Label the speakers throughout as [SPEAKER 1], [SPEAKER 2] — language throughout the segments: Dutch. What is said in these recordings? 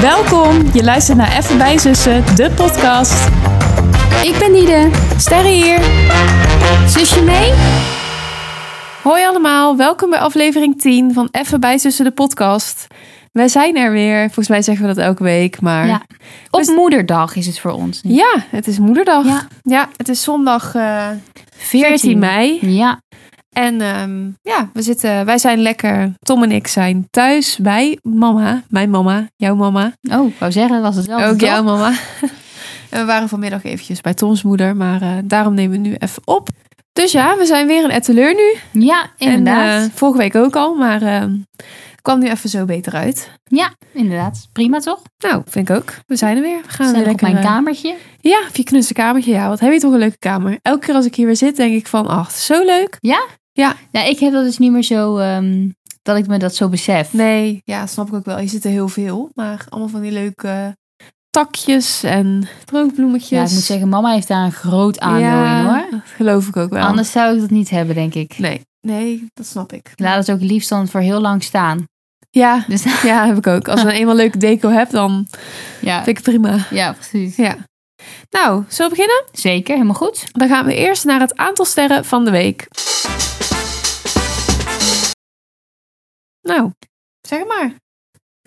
[SPEAKER 1] Welkom, je luistert naar Even bij Zussen, de podcast.
[SPEAKER 2] Ik ben Nide.
[SPEAKER 1] Sterre hier.
[SPEAKER 2] Zusje mee?
[SPEAKER 1] Hoi allemaal, welkom bij aflevering 10 van Even bij Zussen, de podcast. Wij zijn er weer. Volgens mij zeggen we dat elke week, maar...
[SPEAKER 2] Ja. Op
[SPEAKER 1] Dus-
[SPEAKER 2] moederdag is het voor ons. nu.
[SPEAKER 1] Ja, het is moederdag.
[SPEAKER 2] Ja.
[SPEAKER 1] het is zondag eh 14 mei.
[SPEAKER 2] Ja.
[SPEAKER 1] En ehm, ja, we zitten, wij zijn lekker, Tom en ik zijn thuis bij mama, mijn mama, jouw mama,
[SPEAKER 2] Oh, ik wou zeggen, dat was hetzelfde.
[SPEAKER 1] ook
[SPEAKER 2] toch?
[SPEAKER 1] jouw mama. en we waren vanmiddag eventjes bij Toms moeder, maar eh, daarom nemen we nu even op. Dus ja, we zijn weer in Etteleur nu.
[SPEAKER 2] Ja, inderdaad.
[SPEAKER 1] En eh, vorige week ook al, maar ehm, het kwam nu even zo beter uit.
[SPEAKER 2] ja, inderdaad. Prima toch?
[SPEAKER 1] Nou, vind ik ook. We zijn er weer. We gaan
[SPEAKER 2] Zijn
[SPEAKER 1] weer
[SPEAKER 2] we op
[SPEAKER 1] lekker...
[SPEAKER 2] mijn
[SPEAKER 1] eh,
[SPEAKER 2] kamertje.
[SPEAKER 1] Ja, op je knusse kamertje. Ja, wat heb je toch een leuke kamer. Elke keer als ik hier weer zit, denk ik van, ach, het is zo leuk.
[SPEAKER 2] Nou, ik heb dat dus niet meer zo, ehm, dat ik me dat zo besef.
[SPEAKER 1] Nee, ja, snap ik ook wel. Je zit er heel veel, maar allemaal van die leuke takjes en droogbloemetjes.
[SPEAKER 2] Ja, ik moet zeggen, mama heeft daar een groot aandeel in hoor.
[SPEAKER 1] dat geloof ik ook wel.
[SPEAKER 2] Anders zou ik dat niet hebben, denk ik.
[SPEAKER 1] Nee, nee, dat snap ik.
[SPEAKER 2] Ik laat het ook liefst dan voor heel lang staan.
[SPEAKER 1] Ja,
[SPEAKER 2] Dus
[SPEAKER 1] ja, heb ik ook. Als ik dan eenmaal leuke deco heb, dan
[SPEAKER 2] ja,
[SPEAKER 1] vind ik het prima.
[SPEAKER 2] ja, precies.
[SPEAKER 1] Ja. Nou, zullen we beginnen?
[SPEAKER 2] Zeker, helemaal goed.
[SPEAKER 1] Dan gaan we eerst naar het aantal sterren van de week. Nou, zeg maar.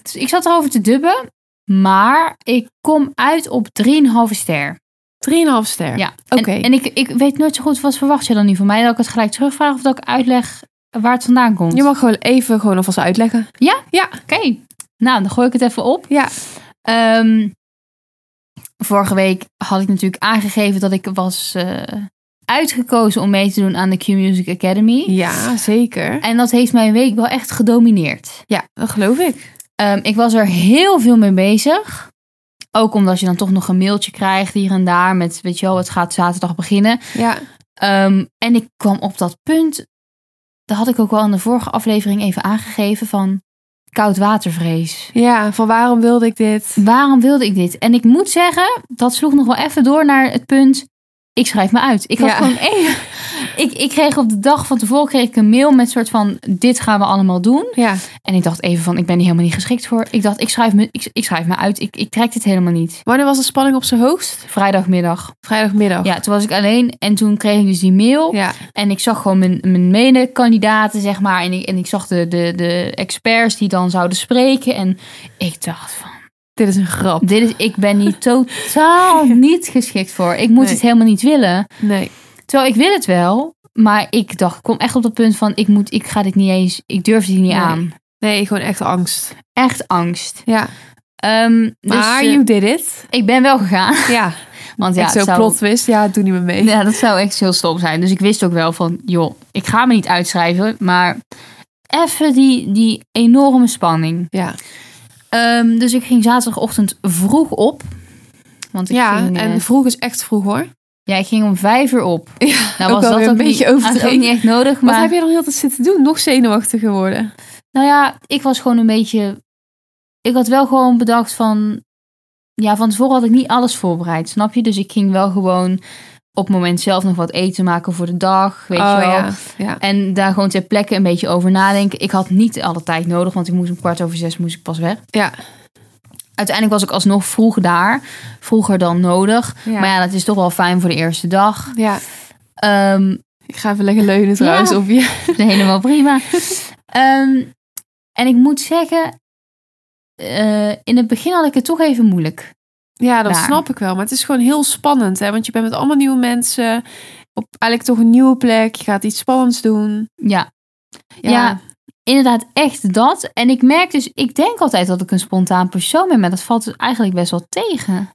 [SPEAKER 2] Dus ik zat erover te dubben, maar ik kom uit op 3,5 ster.
[SPEAKER 1] 3,5 ster.
[SPEAKER 2] Ja,
[SPEAKER 1] Oké.
[SPEAKER 2] En, en ik, ik weet nooit zo goed, wat verwacht je dan nu van mij? Dat ik het gelijk terugvraag of dat ik uitleg waar het vandaan komt?
[SPEAKER 1] Je mag gewoon even gewoon alvast uitleggen.
[SPEAKER 2] Oké, nou dan gooi ik het even op.
[SPEAKER 1] Ja.
[SPEAKER 2] Ehm, vorige week had ik natuurlijk aangegeven dat ik was eh, uitgekozen om mee te doen aan de Q-Music Academy.
[SPEAKER 1] Ja, zeker.
[SPEAKER 2] En dat heeft mijn week wel echt gedomineerd.
[SPEAKER 1] Ja, dat geloof ik.
[SPEAKER 2] Ehm, ik was er heel veel mee bezig. Ook omdat je dan toch nog een mailtje krijgt hier en daar met, weet je wel, het gaat zaterdag beginnen.
[SPEAKER 1] Ja,
[SPEAKER 2] Ehm, en ik kwam op dat punt, dat had ik ook wel in de vorige aflevering even aangegeven van koudwatervrees.
[SPEAKER 1] ja van waarom wilde ik dit?
[SPEAKER 2] Waarom wilde ik dit? En ik moet zeggen, dat sloeg nog wel even door naar het punt, ik schrijf me uit. Ik had
[SPEAKER 1] Ja.
[SPEAKER 2] gewoon even, ik, ik kreeg op de dag van tevoren kreeg ik een mail met soort van, dit gaan we allemaal doen.
[SPEAKER 1] Ja,
[SPEAKER 2] En ik dacht even van, ik ben hier helemaal niet geschikt voor. Ik dacht, ik schrijf me, ik, ik schrijf me uit, ik, ik trek dit helemaal niet.
[SPEAKER 1] wanneer was de spanning op zijn hoogst?
[SPEAKER 2] Vrijdagmiddag.
[SPEAKER 1] Vrijdagmiddag.
[SPEAKER 2] Ja, toen was ik alleen en toen kreeg ik dus die mail.
[SPEAKER 1] Ja,
[SPEAKER 2] En ik zag gewoon mijn, mijn medekandidaten, zeg maar. En ik, en ik zag de, de, de experts die dan zouden spreken. En ik dacht van,
[SPEAKER 1] dit is een grap.
[SPEAKER 2] dit is, ik ben hier totaal niet geschikt voor. Ik moet
[SPEAKER 1] Nee.
[SPEAKER 2] het helemaal niet willen.
[SPEAKER 1] Nee.
[SPEAKER 2] Terwijl ik wil het wel. Maar ik dacht, ik kom echt op dat punt van, ik, moet, ik ga dit niet eens, ik durf dit niet
[SPEAKER 1] Nee.
[SPEAKER 2] aan.
[SPEAKER 1] Nee, gewoon echt angst.
[SPEAKER 2] Echt angst.
[SPEAKER 1] Ja.
[SPEAKER 2] Ehm, dus,
[SPEAKER 1] Maar
[SPEAKER 2] eh,
[SPEAKER 1] you did it.
[SPEAKER 2] ik ben wel gegaan.
[SPEAKER 1] Ja.
[SPEAKER 2] Want ja,
[SPEAKER 1] echt zo
[SPEAKER 2] het zou,
[SPEAKER 1] plot wist. Ja, doe niet meer mee.
[SPEAKER 2] Ja, dat zou echt heel stom zijn. Dus ik wist ook wel van, joh, ik ga me niet uitschrijven, maar even die, die enorme spanning.
[SPEAKER 1] Ja. dus
[SPEAKER 2] Ehm, dus ik ging zaterdagochtend vroeg op. Want ik,
[SPEAKER 1] Ja,
[SPEAKER 2] ging, eh,
[SPEAKER 1] en vroeg is echt vroeg hoor.
[SPEAKER 2] ja, ik ging om vijf uur op.
[SPEAKER 1] Ja,
[SPEAKER 2] Nou
[SPEAKER 1] ook
[SPEAKER 2] was
[SPEAKER 1] alweer
[SPEAKER 2] dat
[SPEAKER 1] een
[SPEAKER 2] ook
[SPEAKER 1] beetje
[SPEAKER 2] niet, had ik ook
[SPEAKER 1] overdreven.
[SPEAKER 2] niet echt nodig,
[SPEAKER 1] Wat
[SPEAKER 2] maar
[SPEAKER 1] heb je dan heel tijd zitten doen? Nog zenuwachtiger worden.
[SPEAKER 2] nou ja, ik was gewoon een beetje... Ik had wel gewoon bedacht van... Ja, van tevoren had ik niet alles voorbereid, snap je? Dus ik ging wel gewoon op het moment zelf nog wat eten maken voor de dag, weet je wel.
[SPEAKER 1] Oh, ja. ja.
[SPEAKER 2] En daar gewoon ter plekke een beetje over nadenken. Ik had niet alle tijd nodig, want ik moest om kwart over zes moest ik pas weg.
[SPEAKER 1] Ja.
[SPEAKER 2] Uiteindelijk was ik alsnog vroeg daar. Vroeger dan nodig.
[SPEAKER 1] Ja.
[SPEAKER 2] Maar ja, dat is toch wel fijn voor de eerste dag.
[SPEAKER 1] Ja.
[SPEAKER 2] Ehm
[SPEAKER 1] Ik ga even lekker leunen trouwens op je.
[SPEAKER 2] helemaal prima. Ehm, en ik moet zeggen, eh, in het begin had ik het toch even moeilijk.
[SPEAKER 1] Ja, dat
[SPEAKER 2] Daar.
[SPEAKER 1] snap ik wel. Maar het is gewoon heel spannend. Hè? Want je bent met allemaal nieuwe mensen. Op eigenlijk toch een nieuwe plek. Je gaat iets spannends doen.
[SPEAKER 2] Ja, ja. inderdaad echt dat. En ik merk dus, ik denk altijd dat ik een spontaan persoon ben, maar dat valt dus eigenlijk best wel tegen.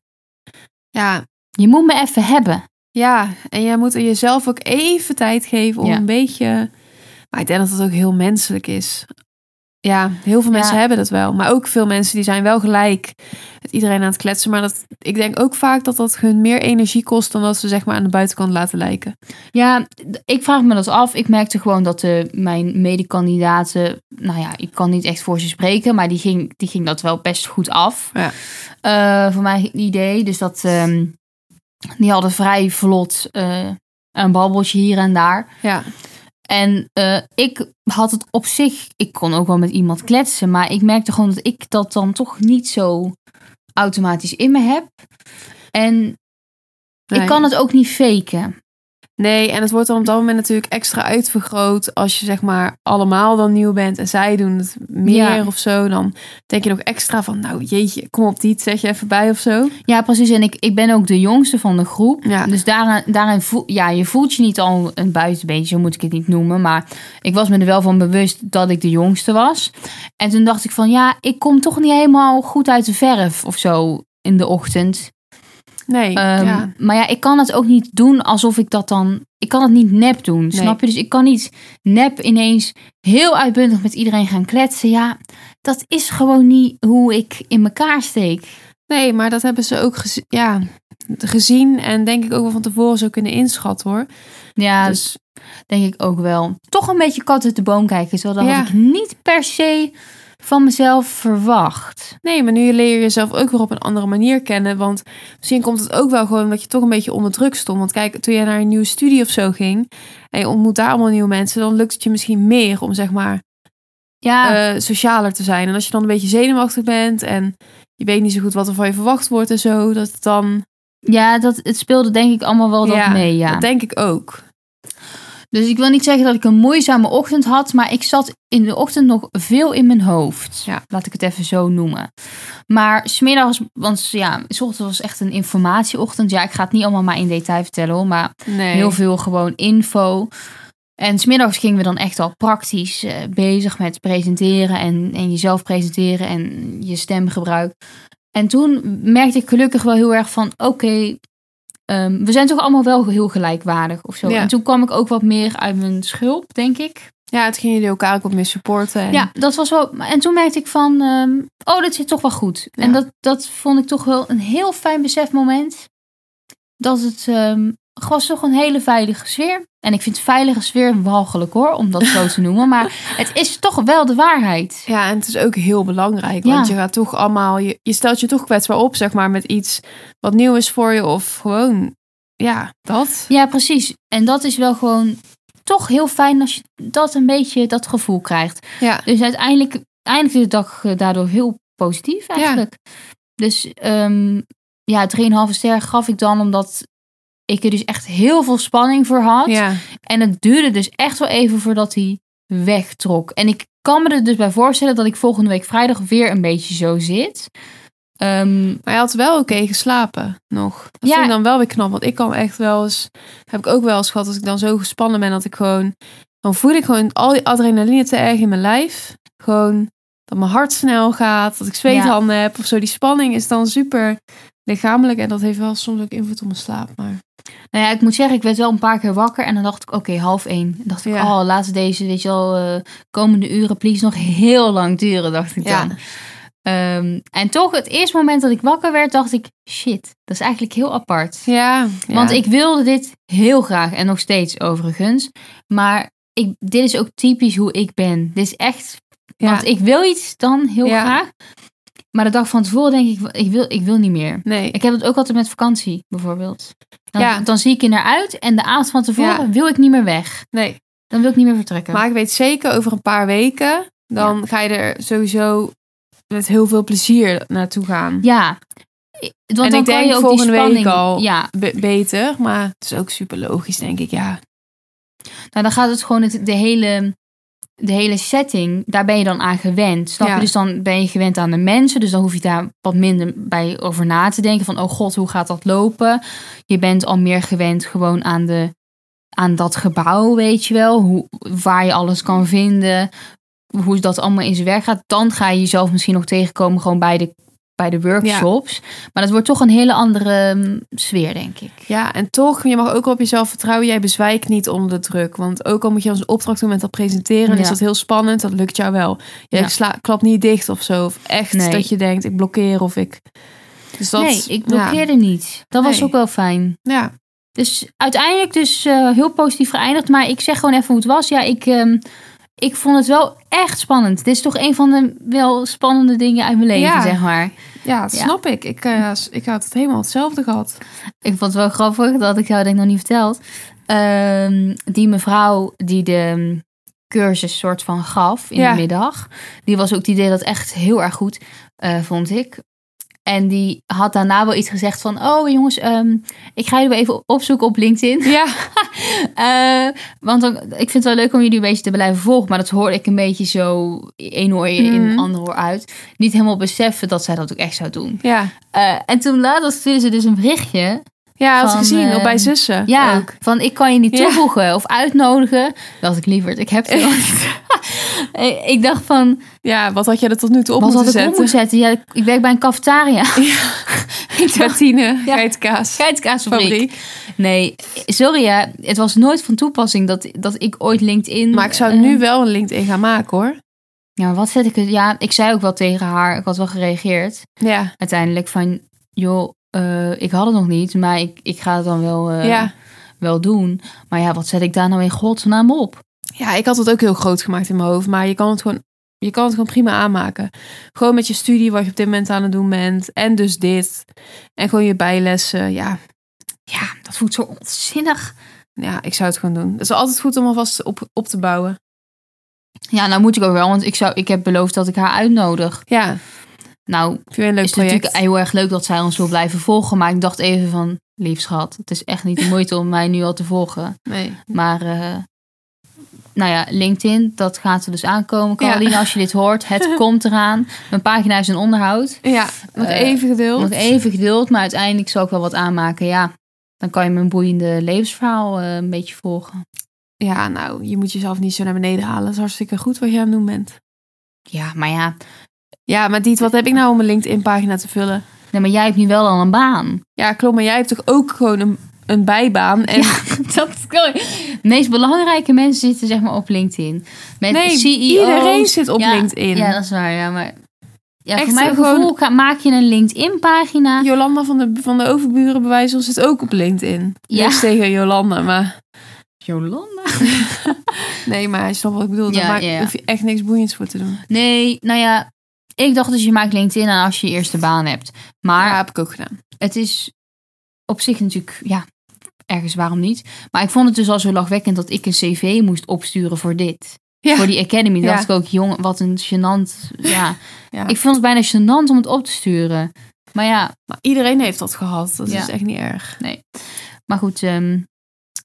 [SPEAKER 1] ja.
[SPEAKER 2] Je moet me even hebben.
[SPEAKER 1] Ja. En jij moet jezelf ook even tijd geven om
[SPEAKER 2] Ja.
[SPEAKER 1] een beetje... Maar ik denk dat het ook heel menselijk is. Ja, heel veel mensen
[SPEAKER 2] Ja.
[SPEAKER 1] hebben dat wel. Maar ook veel mensen die zijn wel gelijk met iedereen aan het kletsen. Maar dat, ik denk ook vaak dat dat hun meer energie kost... dan dat ze zeg maar aan de buitenkant laten lijken.
[SPEAKER 2] Ja, d- ik vraag me dat af. Ik merkte gewoon dat eh, mijn medekandidaten, nou ja, ik kan niet echt voor ze spreken, maar die ging, die ging dat wel best goed af.
[SPEAKER 1] Ja.
[SPEAKER 2] Eh, voor mijn idee. Dus dat, ehm, die hadden vrij vlot eh, een babbeltje hier en daar.
[SPEAKER 1] Ja,
[SPEAKER 2] En eh, ik had het op zich, ik kon ook wel met iemand kletsen, maar ik merkte gewoon dat ik dat dan toch niet zo automatisch in me heb. En
[SPEAKER 1] Nee.
[SPEAKER 2] ik kan het ook niet faken.
[SPEAKER 1] Nee, en het wordt dan op dat moment natuurlijk extra uitvergroot als je zeg maar allemaal dan nieuw bent en zij doen het meer
[SPEAKER 2] Ja.
[SPEAKER 1] of zo. Dan denk je nog extra van, nou jeetje, kom op die, zeg je even bij of zo.
[SPEAKER 2] Ja, precies. En ik, ik ben ook de jongste van de groep.
[SPEAKER 1] Ja.
[SPEAKER 2] Dus daarin, daarin voel, ja, je voelt je niet al een buitenbeentje, zo moet ik het niet noemen. Maar ik was me er wel van bewust dat ik de jongste was. En toen dacht ik van, ja, ik kom toch niet helemaal goed uit de verf of zo in de ochtend.
[SPEAKER 1] Nee,
[SPEAKER 2] Ehm,
[SPEAKER 1] ja.
[SPEAKER 2] Maar ja, ik kan het ook niet doen alsof ik dat dan... Ik kan het niet nep doen, snap je? Dus ik kan niet nep ineens heel uitbundig met iedereen gaan kletsen. Ja, dat is gewoon niet hoe ik in elkaar steek.
[SPEAKER 1] nee, maar dat hebben ze ook gezi- ja, gezien en denk ik ook wel van tevoren zo kunnen inschatten hoor.
[SPEAKER 2] Ja, dus
[SPEAKER 1] dus
[SPEAKER 2] denk ik ook wel. Toch een beetje kat uit de boom kijken. Zo dat
[SPEAKER 1] Ja.
[SPEAKER 2] had ik niet per se van mezelf verwacht.
[SPEAKER 1] nee, maar nu leer je jezelf ook weer op een andere manier kennen. Want misschien komt het ook wel gewoon omdat je toch een beetje onder druk stond. Want kijk, toen je naar een nieuwe studie of zo ging en je ontmoet daar allemaal nieuwe mensen, dan lukt het je misschien meer om zeg maar
[SPEAKER 2] Ja,
[SPEAKER 1] eh, socialer te zijn. En als je dan een beetje zenuwachtig bent en je weet niet zo goed wat er van je verwacht wordt en zo, dat het dan.
[SPEAKER 2] ja dat, het speelde denk ik allemaal wel dat
[SPEAKER 1] Ja,
[SPEAKER 2] mee. Ja.
[SPEAKER 1] Dat denk ik ook.
[SPEAKER 2] Dus ik wil niet zeggen dat ik een moeizame ochtend had. Maar ik zat in de ochtend nog veel in mijn hoofd.
[SPEAKER 1] Ja.
[SPEAKER 2] Laat ik het even zo noemen. Maar smiddags, want ja, 's ochtends was echt een informatieochtend. Ja, ik ga het niet allemaal maar in detail vertellen hoor. Maar
[SPEAKER 1] Nee.
[SPEAKER 2] Heel veel gewoon info. En smiddags gingen we dan echt al praktisch eh, bezig met presenteren en, en jezelf presenteren en je stemgebruik. En toen merkte ik gelukkig wel heel erg van, oké, ehm, we zijn toch allemaal wel heel gelijkwaardig of zo.
[SPEAKER 1] Ja.
[SPEAKER 2] En toen kwam ik ook wat meer uit mijn schulp, denk ik.
[SPEAKER 1] Ja, het gingen jullie elkaar ook wat meer supporten. En...
[SPEAKER 2] Ja, dat was wel. En toen merkte ik van, ehm, oh, dat zit toch wel goed. En
[SPEAKER 1] Ja.
[SPEAKER 2] dat, dat vond ik toch wel een heel fijn besefmoment. Dat het ehm was toch een hele veilige sfeer. En ik vind veilige sfeer walgelijk hoor, om dat zo te noemen. Maar het is toch wel de waarheid.
[SPEAKER 1] Ja, en het is ook heel belangrijk.
[SPEAKER 2] Ja.
[SPEAKER 1] Want je gaat toch allemaal. Je, je stelt je toch kwetsbaar op, zeg maar, met iets wat nieuw is voor je. Of gewoon. Ja, dat.
[SPEAKER 2] Ja, precies. En dat is wel gewoon toch heel fijn als je dat een beetje dat gevoel krijgt.
[SPEAKER 1] Ja.
[SPEAKER 2] Dus uiteindelijk eindigde de dag eh, daardoor heel positief eigenlijk. Dus ehm ja, 3,5 ster gaf ik dan omdat ik er dus echt heel veel spanning voor had.
[SPEAKER 1] Ja.
[SPEAKER 2] En het duurde dus echt wel even voordat hij wegtrok. En ik kan me er dus bij voorstellen dat ik volgende week vrijdag weer een beetje zo zit. Ehm,
[SPEAKER 1] Maar je had wel oké geslapen nog. Dat
[SPEAKER 2] Ja.
[SPEAKER 1] vind ik dan wel weer knap. Want ik kan echt wel eens. Heb ik ook wel eens gehad als ik dan zo gespannen ben dat ik gewoon. Dan voel ik gewoon al die adrenaline te erg in mijn lijf. Gewoon dat mijn hart snel gaat. Dat ik zweethanden heb of zo. Die spanning is dan super lichamelijk. En dat heeft wel soms ook invloed op mijn slaap. Maar
[SPEAKER 2] nou ja, ik moet zeggen, ik werd wel een paar keer wakker. En dan dacht ik, oké, half één. Dan dacht ik,
[SPEAKER 1] Ja.
[SPEAKER 2] oh, laat deze, weet je wel, eh, komende uren, please, nog heel lang duren, dacht ik
[SPEAKER 1] Ja.
[SPEAKER 2] dan. Ehm, en toch, het eerste moment dat ik wakker werd, dacht ik, shit, dat is eigenlijk heel apart.
[SPEAKER 1] ja.
[SPEAKER 2] Want
[SPEAKER 1] ja.
[SPEAKER 2] ik wilde dit heel graag en nog steeds overigens. Maar ik, dit is ook typisch hoe ik ben. Dit is echt,
[SPEAKER 1] Ja.
[SPEAKER 2] want ik wil iets dan heel
[SPEAKER 1] Ja.
[SPEAKER 2] graag. Maar de dag van tevoren denk ik, ik wil, ik wil niet meer.
[SPEAKER 1] Nee.
[SPEAKER 2] Ik heb het ook altijd met vakantie bijvoorbeeld. Dan,
[SPEAKER 1] Ja.
[SPEAKER 2] dan zie ik er naar uit en de avond van tevoren wil ik niet meer weg.
[SPEAKER 1] Nee.
[SPEAKER 2] Dan wil ik niet meer vertrekken.
[SPEAKER 1] Maar ik weet zeker, over een paar weken, dan ga je er sowieso met heel veel plezier naartoe gaan.
[SPEAKER 2] ja, I- want
[SPEAKER 1] En
[SPEAKER 2] dan
[SPEAKER 1] ik
[SPEAKER 2] kan
[SPEAKER 1] denk
[SPEAKER 2] je ook
[SPEAKER 1] volgende
[SPEAKER 2] die
[SPEAKER 1] week
[SPEAKER 2] spanning,
[SPEAKER 1] al.
[SPEAKER 2] Ja,
[SPEAKER 1] Be- beter, maar het is ook super logisch, denk ik. Ja,
[SPEAKER 2] Nou, dan gaat het gewoon het, de, hele, de hele setting, daar ben je dan aan gewend. Snap
[SPEAKER 1] Ja.
[SPEAKER 2] je? Dus dan ben je gewend aan de mensen. Dus dan hoef je daar wat minder bij over na te denken. Van, oh god, hoe gaat dat lopen? Je bent al meer gewend gewoon aan, de, aan dat gebouw, weet je wel. Hoe, waar je alles kan vinden. Hoe dat allemaal in zijn werk gaat. Dan ga je jezelf misschien nog tegenkomen gewoon bij de, bij de workshops. Maar dat wordt toch een hele andere mm, sfeer, denk ik.
[SPEAKER 1] Ja, en toch, je mag ook op jezelf vertrouwen. Jij bezwijkt niet onder de druk. Want ook al moet je als een opdracht doen met dat presenteren,
[SPEAKER 2] Ja.
[SPEAKER 1] is dat heel spannend. Dat lukt jou wel. Je
[SPEAKER 2] Ja.
[SPEAKER 1] sla- klapt niet dicht of zo. Of echt
[SPEAKER 2] Nee.
[SPEAKER 1] dat je denkt, ik blokkeer of ik... Dus dat,
[SPEAKER 2] nee, ik blokkeerde niet. Dat was
[SPEAKER 1] Nee.
[SPEAKER 2] ook wel fijn.
[SPEAKER 1] Ja, ja.
[SPEAKER 2] Dus uiteindelijk dus eh, heel positief geëindigd. Maar ik zeg gewoon even hoe het was. Ja, ik, ehm, ik vond het wel echt spannend. Dit is toch een van de wel spannende dingen uit mijn leven,
[SPEAKER 1] Ja.
[SPEAKER 2] zeg maar.
[SPEAKER 1] ja dat
[SPEAKER 2] Ja.
[SPEAKER 1] snap ik. Ik, eh, s- ik had het helemaal hetzelfde gehad.
[SPEAKER 2] Ik vond het wel grappig, dat had ik jou denk ik nog niet verteld. Ehm, die mevrouw die de ehm, cursus soort van gaf in
[SPEAKER 1] Ja.
[SPEAKER 2] de middag. Die was ook, die deed dat echt heel erg goed, eh, vond ik. En die had daarna wel iets gezegd van... Oh jongens, ehm, ik ga jullie wel even opzoeken op LinkedIn.
[SPEAKER 1] Ja.
[SPEAKER 2] Eh, want dan, ik vind het wel leuk om jullie een beetje te blijven volgen. Maar dat hoor ik een beetje zo... één hoor je in,
[SPEAKER 1] Mhm.
[SPEAKER 2] ander hoor uit. Niet helemaal beseffen dat zij dat ook echt zou doen.
[SPEAKER 1] Ja,
[SPEAKER 2] Eh, en toen later stuurde ze dus een berichtje.
[SPEAKER 1] ja had ik
[SPEAKER 2] Van,
[SPEAKER 1] gezien.
[SPEAKER 2] eh,
[SPEAKER 1] ook bij zussen.
[SPEAKER 2] Ja,
[SPEAKER 1] Ook.
[SPEAKER 2] van ik kan je niet
[SPEAKER 1] Ja.
[SPEAKER 2] toevoegen of uitnodigen. Dacht ik liever, ik heb het al. Eh, ik dacht van,
[SPEAKER 1] Ja, wat had jij er tot nu toe op
[SPEAKER 2] wat had
[SPEAKER 1] moeten
[SPEAKER 2] ik op
[SPEAKER 1] zetten?
[SPEAKER 2] moeten zetten? Ja, ik- ik werk bij een cafetaria. ik dacht,
[SPEAKER 1] Tartine,
[SPEAKER 2] Ja.
[SPEAKER 1] geitenkaas,
[SPEAKER 2] scheidskaasfabriek.
[SPEAKER 1] fabriek.
[SPEAKER 2] Nee, sorry ja, het was nooit van toepassing dat, dat ik ooit LinkedIn...
[SPEAKER 1] Maar ik zou
[SPEAKER 2] eh,
[SPEAKER 1] nu wel een LinkedIn gaan maken hoor.
[SPEAKER 2] Ja, maar wat zet ik... het- Ja, ik zei ook wel tegen haar, ik had wel gereageerd.
[SPEAKER 1] Ja,
[SPEAKER 2] Uiteindelijk van, joh, eh, ik had het nog niet, maar ik, ik ga het dan wel, eh,
[SPEAKER 1] ja.
[SPEAKER 2] wel doen. Maar ja, wat zet ik daar nou in godsnaam op?
[SPEAKER 1] Ja, ik had het ook heel groot gemaakt in mijn hoofd. Maar je kan het gewoon, je kan het gewoon prima aanmaken. Gewoon met je studie, wat je op dit moment aan het doen bent. En dus dit. En gewoon je bijlessen. Ja,
[SPEAKER 2] Ja, dat voelt zo onzinnig.
[SPEAKER 1] ja ik zou het gewoon doen. Het is altijd goed om alvast op, op te bouwen.
[SPEAKER 2] Ja, nou moet ik ook wel, want ik, zou, ik heb beloofd dat ik haar uitnodig.
[SPEAKER 1] Ja,
[SPEAKER 2] Nou,
[SPEAKER 1] vind je een leuk
[SPEAKER 2] is het
[SPEAKER 1] project.
[SPEAKER 2] natuurlijk heel erg leuk dat zij ons wil blijven volgen. Maar ik dacht even van, lief schat, het is echt niet de moeite om mij nu al te volgen.
[SPEAKER 1] Nee.
[SPEAKER 2] Maar, eh, nou ja, LinkedIn, dat gaat er dus aankomen.
[SPEAKER 1] Ja.
[SPEAKER 2] Caroline, als je dit hoort, het komt eraan. Mijn pagina is in onderhoud.
[SPEAKER 1] Ja, nog
[SPEAKER 2] Eh,
[SPEAKER 1] even geduld.
[SPEAKER 2] Nog even geduld, maar uiteindelijk zal ik wel wat aanmaken. Ja, dan kan je mijn boeiende levensverhaal eh, een beetje volgen.
[SPEAKER 1] Ja, nou, je moet jezelf niet zo naar beneden halen. Dat is hartstikke goed wat je aan het doen bent.
[SPEAKER 2] Ja, maar ja.
[SPEAKER 1] Ja, maar Diet, wat heb ik nou om mijn LinkedIn-pagina te vullen?
[SPEAKER 2] Nee, maar jij hebt nu wel al een baan.
[SPEAKER 1] Ja, klopt, maar jij hebt toch ook gewoon een, een bijbaan? En
[SPEAKER 2] Ja, dat kan. De meest belangrijke mensen zitten zeg maar op LinkedIn. Met
[SPEAKER 1] nee,
[SPEAKER 2] CEO's.
[SPEAKER 1] iedereen zit op
[SPEAKER 2] E Ja,
[SPEAKER 1] LinkedIn.
[SPEAKER 2] Ja, dat is waar. Ja, maar ja,
[SPEAKER 1] Echt
[SPEAKER 2] voor mijn
[SPEAKER 1] gewoon-
[SPEAKER 2] gevoel ga- maak je een LinkedIn-pagina.
[SPEAKER 1] Jolanda van de, van de Overburen bij wijze van zit ook op LinkedIn.
[SPEAKER 2] Ja.
[SPEAKER 1] Niks tegen Jolanda, maar...
[SPEAKER 2] Jolanda?
[SPEAKER 1] Nee, maar je snapt wat ik bedoel.
[SPEAKER 2] Ja,
[SPEAKER 1] Daar maak,
[SPEAKER 2] ja, ja.
[SPEAKER 1] hoef je echt niks boeiends voor te doen.
[SPEAKER 2] Nee, nou ja. Ik dacht dus je maakt LinkedIn aan als je je eerste baan hebt. Maar
[SPEAKER 1] Maar dat heb ik ook gedaan.
[SPEAKER 2] het is op zich natuurlijk, ja, ergens waarom niet. Maar ik vond het dus al zo lachwekkend dat ik een cv moest opsturen voor dit.
[SPEAKER 1] Ja.
[SPEAKER 2] Voor die academy. Dat
[SPEAKER 1] Ja.
[SPEAKER 2] dacht ik ook, jongen, wat een gênant. Ja.
[SPEAKER 1] Ja.
[SPEAKER 2] Ik vond het bijna gênant om het op te sturen. Maar ja,
[SPEAKER 1] Maar iedereen heeft dat gehad. Dat
[SPEAKER 2] Ja.
[SPEAKER 1] is echt niet erg.
[SPEAKER 2] maar goed. ehm,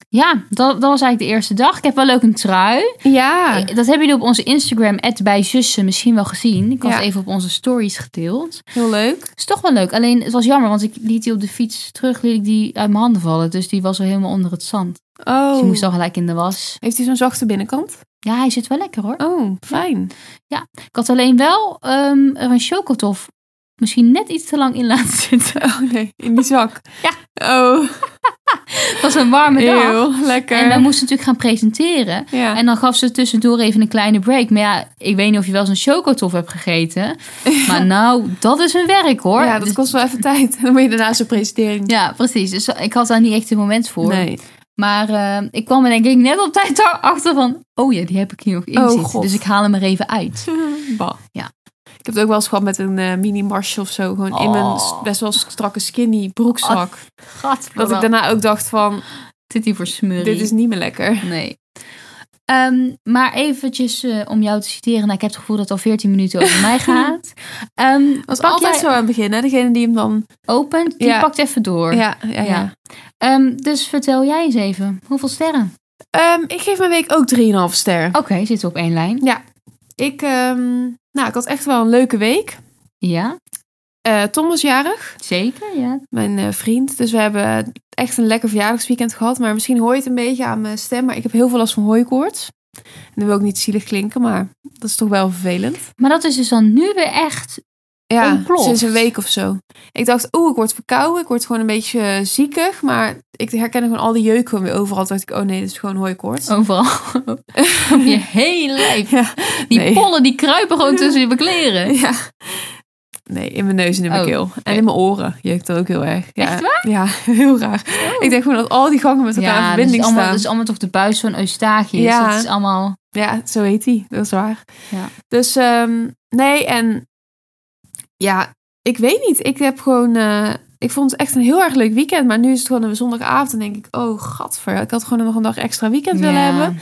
[SPEAKER 2] ja, dat, dat was eigenlijk de eerste dag. Ik heb wel leuk een trui.
[SPEAKER 1] Ja.
[SPEAKER 2] Eh, Dat hebben jullie op onze Instagram, @bijzussen, misschien wel gezien. Ik had
[SPEAKER 1] Ja.
[SPEAKER 2] het even op onze stories gedeeld.
[SPEAKER 1] Heel leuk.
[SPEAKER 2] is toch wel leuk. Alleen, het was jammer, want ik liet die op de fiets terug, liet ik die uit mijn handen vallen. Dus die was al helemaal onder het zand. Dus
[SPEAKER 1] Oh.
[SPEAKER 2] die moest al gelijk in de was.
[SPEAKER 1] Heeft hij zo'n zachte binnenkant?
[SPEAKER 2] Ja, hij zit wel lekker hoor.
[SPEAKER 1] Oh, fijn.
[SPEAKER 2] Ik had alleen wel ehm, er een chocotof misschien net iets te lang in laten zitten.
[SPEAKER 1] Oh nee, in die zak.
[SPEAKER 2] Ja.
[SPEAKER 1] Oh,
[SPEAKER 2] Het was een warme dag.
[SPEAKER 1] heel lekker.
[SPEAKER 2] En wij moesten natuurlijk gaan presenteren.
[SPEAKER 1] ja.
[SPEAKER 2] En dan gaf ze tussendoor even een kleine break. Maar ja, ik weet niet of je wel eens een chocotof hebt gegeten. Maar nou, dat is een werk hoor.
[SPEAKER 1] ja, dat
[SPEAKER 2] Dus-
[SPEAKER 1] kost wel even tijd. Dan moet je daarna zo'n presentering
[SPEAKER 2] ja precies. Dus ik had daar niet echt een moment voor.
[SPEAKER 1] doen. Nee.
[SPEAKER 2] Maar eh, ik kwam er denk ik net op tijd achter van... Oh ja, die heb ik hier nog in
[SPEAKER 1] Oh,
[SPEAKER 2] zitten.
[SPEAKER 1] God.
[SPEAKER 2] Dus ik haal hem er even uit.
[SPEAKER 1] Bah.
[SPEAKER 2] Ja.
[SPEAKER 1] Ik heb het ook wel eens gehad met een eh, mini marsje of zo. Gewoon in mijn
[SPEAKER 2] Oh. Ah,
[SPEAKER 1] best wel strakke skinny broekzak. dat ik
[SPEAKER 2] dan
[SPEAKER 1] daarna ook dacht van,
[SPEAKER 2] zit hier voor smurrie.
[SPEAKER 1] dit is niet meer lekker.
[SPEAKER 2] Nee. Ehm, maar eventjes eh, om jou te citeren. Nou, ik heb het gevoel dat het al 14 minuten over mij gaat. Ehm
[SPEAKER 1] Dat was
[SPEAKER 2] pak
[SPEAKER 1] altijd
[SPEAKER 2] jij
[SPEAKER 1] zo aan het begin, hè? Degene die hem dan...
[SPEAKER 2] open, die
[SPEAKER 1] Ja.
[SPEAKER 2] pakt even door.
[SPEAKER 1] Ja, ja, ja.
[SPEAKER 2] Ja. Ehm, dus vertel jij eens even. Hoeveel sterren?
[SPEAKER 1] Ehm, ik geef mijn week ook 3,5 ster.
[SPEAKER 2] Oké, zitten we op één lijn.
[SPEAKER 1] Ik, ehm, nou, ik had echt wel een leuke week.
[SPEAKER 2] Ja,
[SPEAKER 1] Eh, Tom was jarig,
[SPEAKER 2] zeker. Ja.
[SPEAKER 1] mijn eh, vriend. Dus we hebben echt een lekker verjaardagsweekend gehad. Maar misschien hoor je het een beetje aan mijn stem. Maar ik heb heel veel last van hooikoorts. En dat wil ook niet zielig klinken, maar dat is toch wel vervelend.
[SPEAKER 2] Maar dat is dus dan nu weer echt...
[SPEAKER 1] Ja,
[SPEAKER 2] Ontploft.
[SPEAKER 1] sinds een week of zo. Ik dacht, oeh, ik word verkouden. Ik word gewoon een beetje eh, ziekig. Maar ik herkende gewoon al die jeuk gewoon weer overal. Toen dacht ik, oh nee, dit is gewoon
[SPEAKER 2] Oh.
[SPEAKER 1] hooikoorts.
[SPEAKER 2] Overal. op je hele lijf.
[SPEAKER 1] Ja,
[SPEAKER 2] Die
[SPEAKER 1] nee.
[SPEAKER 2] pollen die kruipen gewoon tussen je kleren.
[SPEAKER 1] Ja. Nee, in mijn neus en in mijn
[SPEAKER 2] Oh,
[SPEAKER 1] keel. En in mijn oren jeukt dat ook heel erg. Ja,
[SPEAKER 2] Echt
[SPEAKER 1] waar? Ja, heel raar. Ik denk gewoon dat al die gangen met elkaar in
[SPEAKER 2] dat is,
[SPEAKER 1] verbinding
[SPEAKER 2] dus allemaal,
[SPEAKER 1] staan.
[SPEAKER 2] dat is allemaal toch de buis van Eustachius.
[SPEAKER 1] Ja.
[SPEAKER 2] Dat is allemaal...
[SPEAKER 1] Ja, zo heet die. Dat is waar.
[SPEAKER 2] Ja.
[SPEAKER 1] Dus ehm, nee, en ja, ik weet niet. Ik heb gewoon. eh, ik vond het echt een heel erg leuk weekend. Maar nu is het gewoon een zondagavond. En denk ik, oh, gadver. Ik had gewoon nog een dag extra weekend willen
[SPEAKER 2] Ja.
[SPEAKER 1] hebben.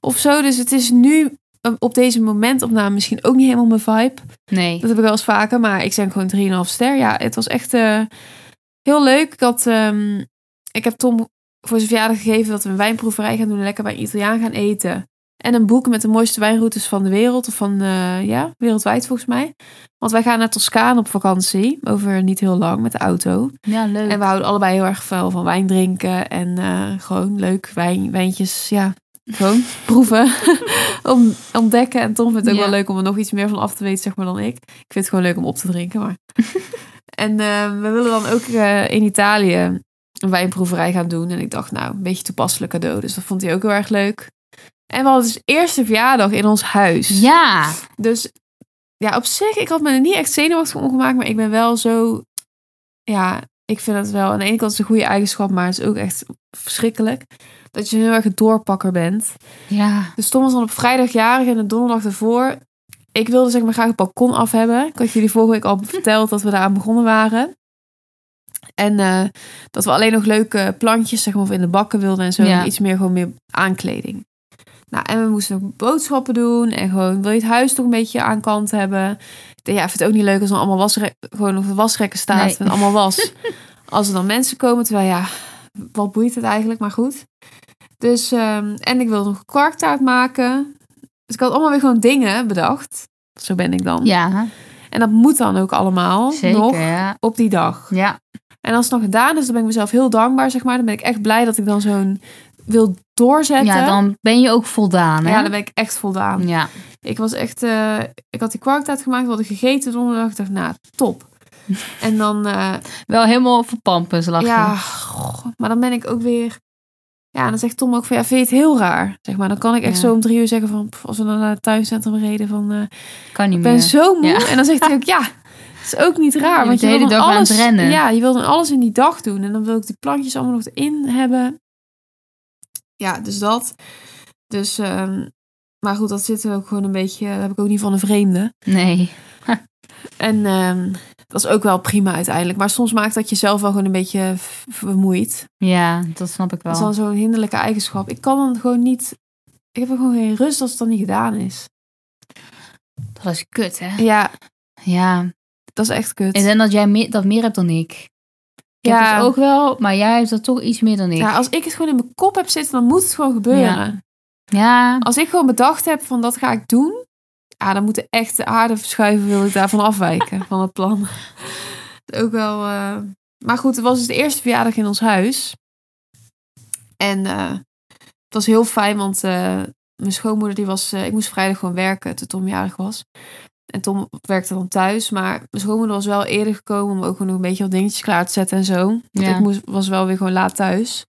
[SPEAKER 1] Of zo. Dus het is nu op deze momentopname misschien ook niet helemaal mijn vibe.
[SPEAKER 2] Nee.
[SPEAKER 1] Dat heb ik wel eens vaker, maar ik zijn gewoon 3,5 ster. Ja, het was echt eh, heel leuk. Ik, had, ehm, ik heb Tom voor zijn verjaardag gegeven dat we een wijnproeverij gaan doen. en Lekker bij een Italiaan gaan eten. En een boek met de mooiste wijnroutes van de wereld. Of van, eh, ja, wereldwijd volgens mij. Want wij gaan naar Toscaan op vakantie. Over niet heel lang met de auto.
[SPEAKER 2] Ja, leuk.
[SPEAKER 1] En we houden allebei heel erg veel van wijn drinken. En eh, gewoon leuk wijn, wijntjes, ja, gewoon proeven. om, ontdekken. En Tom vindt het ook
[SPEAKER 2] Ja.
[SPEAKER 1] wel leuk om er nog iets meer van af te weten, zeg maar, dan ik. Ik vind het gewoon leuk om op te drinken, maar... en eh, we willen dan ook eh, in Italië een wijnproeverij gaan doen. En ik dacht, nou, een beetje toepasselijk cadeau. Dus dat vond hij ook heel erg leuk. En we hadden dus eerste verjaardag in ons huis.
[SPEAKER 2] Ja.
[SPEAKER 1] Dus ja, op zich, ik had me er niet echt zenuwachtig om gemaakt, maar ik ben wel zo. Ja, ik vind het wel aan de ene kant is een goede eigenschap, maar het is ook echt verschrikkelijk. Dat je heel erg een doorpakker bent.
[SPEAKER 2] Ja.
[SPEAKER 1] Dus Tom was dan op vrijdag jarig en de donderdag ervoor. Ik wilde zeg maar graag het balkon af hebben. Ik had jullie vorige week al verteld dat we daaraan begonnen waren. En eh, dat we alleen nog leuke plantjes zeg maar, of in de bakken wilden en zo.
[SPEAKER 2] Ja.
[SPEAKER 1] En iets meer gewoon meer aankleding. Nou, en we moesten nog boodschappen doen. En gewoon, wil je het huis toch een beetje aan kant hebben? Ik dacht, Ja, ik vind het ook niet leuk als er allemaal wasre- gewoon op de wasrekken staat.
[SPEAKER 2] Nee.
[SPEAKER 1] Met allemaal was. als er dan mensen komen, terwijl ja, wat boeit het eigenlijk? Maar goed. Dus, ehm, en ik wilde nog een kwarktaart maken. Dus ik had allemaal weer gewoon dingen bedacht. Zo ben ik dan.
[SPEAKER 2] Ja.
[SPEAKER 1] En dat moet dan ook allemaal
[SPEAKER 2] Zeker.
[SPEAKER 1] Oh, nog
[SPEAKER 2] Ja.
[SPEAKER 1] op die dag.
[SPEAKER 2] Ja.
[SPEAKER 1] En als het nog gedaan is, dan ben ik mezelf heel dankbaar, zeg maar. Dan ben ik echt blij dat ik dan zo'n wil doorzetten.
[SPEAKER 2] ja, dan ben je ook voldaan. Hè?
[SPEAKER 1] Ja, dan ben ik echt voldaan.
[SPEAKER 2] Ja.
[SPEAKER 1] Ik was echt, eh, ik had die kwarktaart gemaakt, we hadden gegeten donderdag. Ik dacht, nou, top. En dan, eh,
[SPEAKER 2] Wel helemaal verpampers lachen.
[SPEAKER 1] ja, goh, maar dan ben ik ook weer... Ja, dan zegt Tom ook van, ja, vind je het heel raar? Zeg maar, dan kan ik echt
[SPEAKER 2] Ja.
[SPEAKER 1] zo om drie uur zeggen van... pff, als we dan naar het tuincentrum reden van... eh,
[SPEAKER 2] Kan niet
[SPEAKER 1] ik
[SPEAKER 2] meer.
[SPEAKER 1] ben zo moe.
[SPEAKER 2] Ja.
[SPEAKER 1] En dan zegt hij ook, ja, het is ook niet raar.
[SPEAKER 2] Je
[SPEAKER 1] want
[SPEAKER 2] bent
[SPEAKER 1] je
[SPEAKER 2] de
[SPEAKER 1] wil
[SPEAKER 2] hele
[SPEAKER 1] dan
[SPEAKER 2] dag aan
[SPEAKER 1] alles,
[SPEAKER 2] het rennen.
[SPEAKER 1] Ja, je wil dan alles in die dag doen. En dan wil ik die plantjes allemaal nog erin hebben. Ja, dus dat. Dus, ehm, maar goed, dat zit er ook gewoon een beetje... Dat heb ik ook niet van een vreemde.
[SPEAKER 2] Nee.
[SPEAKER 1] En ehm, dat is ook wel prima uiteindelijk. Maar soms maakt dat jezelf wel gewoon een beetje v- vermoeid.
[SPEAKER 2] Ja, dat snap ik
[SPEAKER 1] Dat is
[SPEAKER 2] wel.
[SPEAKER 1] dan zo'n hinderlijke eigenschap. Ik kan dan gewoon niet... Ik heb er gewoon geen rust als het dan niet gedaan is.
[SPEAKER 2] Dat is kut, hè?
[SPEAKER 1] Ja,
[SPEAKER 2] Ja.
[SPEAKER 1] dat is echt kut.
[SPEAKER 2] Ik denk dat jij meer, dat meer hebt dan ik. Ik
[SPEAKER 1] Ja.
[SPEAKER 2] heb het ook wel, maar jij hebt dat toch iets meer dan ik.
[SPEAKER 1] Ja,
[SPEAKER 2] Ja.
[SPEAKER 1] als ik het gewoon in mijn kop heb zitten, dan moet het gewoon gebeuren. Als ik gewoon bedacht heb van dat ga ik doen. Ja, dan moet de echte aarde verschuiven, wil ik daarvan afwijken, van het plan. Dat is Ook wel... eh, Maar goed, het was dus de eerste verjaardag in ons huis. En eh, het was heel fijn, want eh, mijn schoonmoeder die was... eh, ik moest vrijdag gewoon werken, toen Tom jarig was. En Tom werkte dan thuis, maar mijn schoonmoeder was wel eerder gekomen... om ook gewoon nog een beetje wat dingetjes klaar te zetten en zo. Want
[SPEAKER 2] Ja.
[SPEAKER 1] ik moest, was wel weer gewoon laat thuis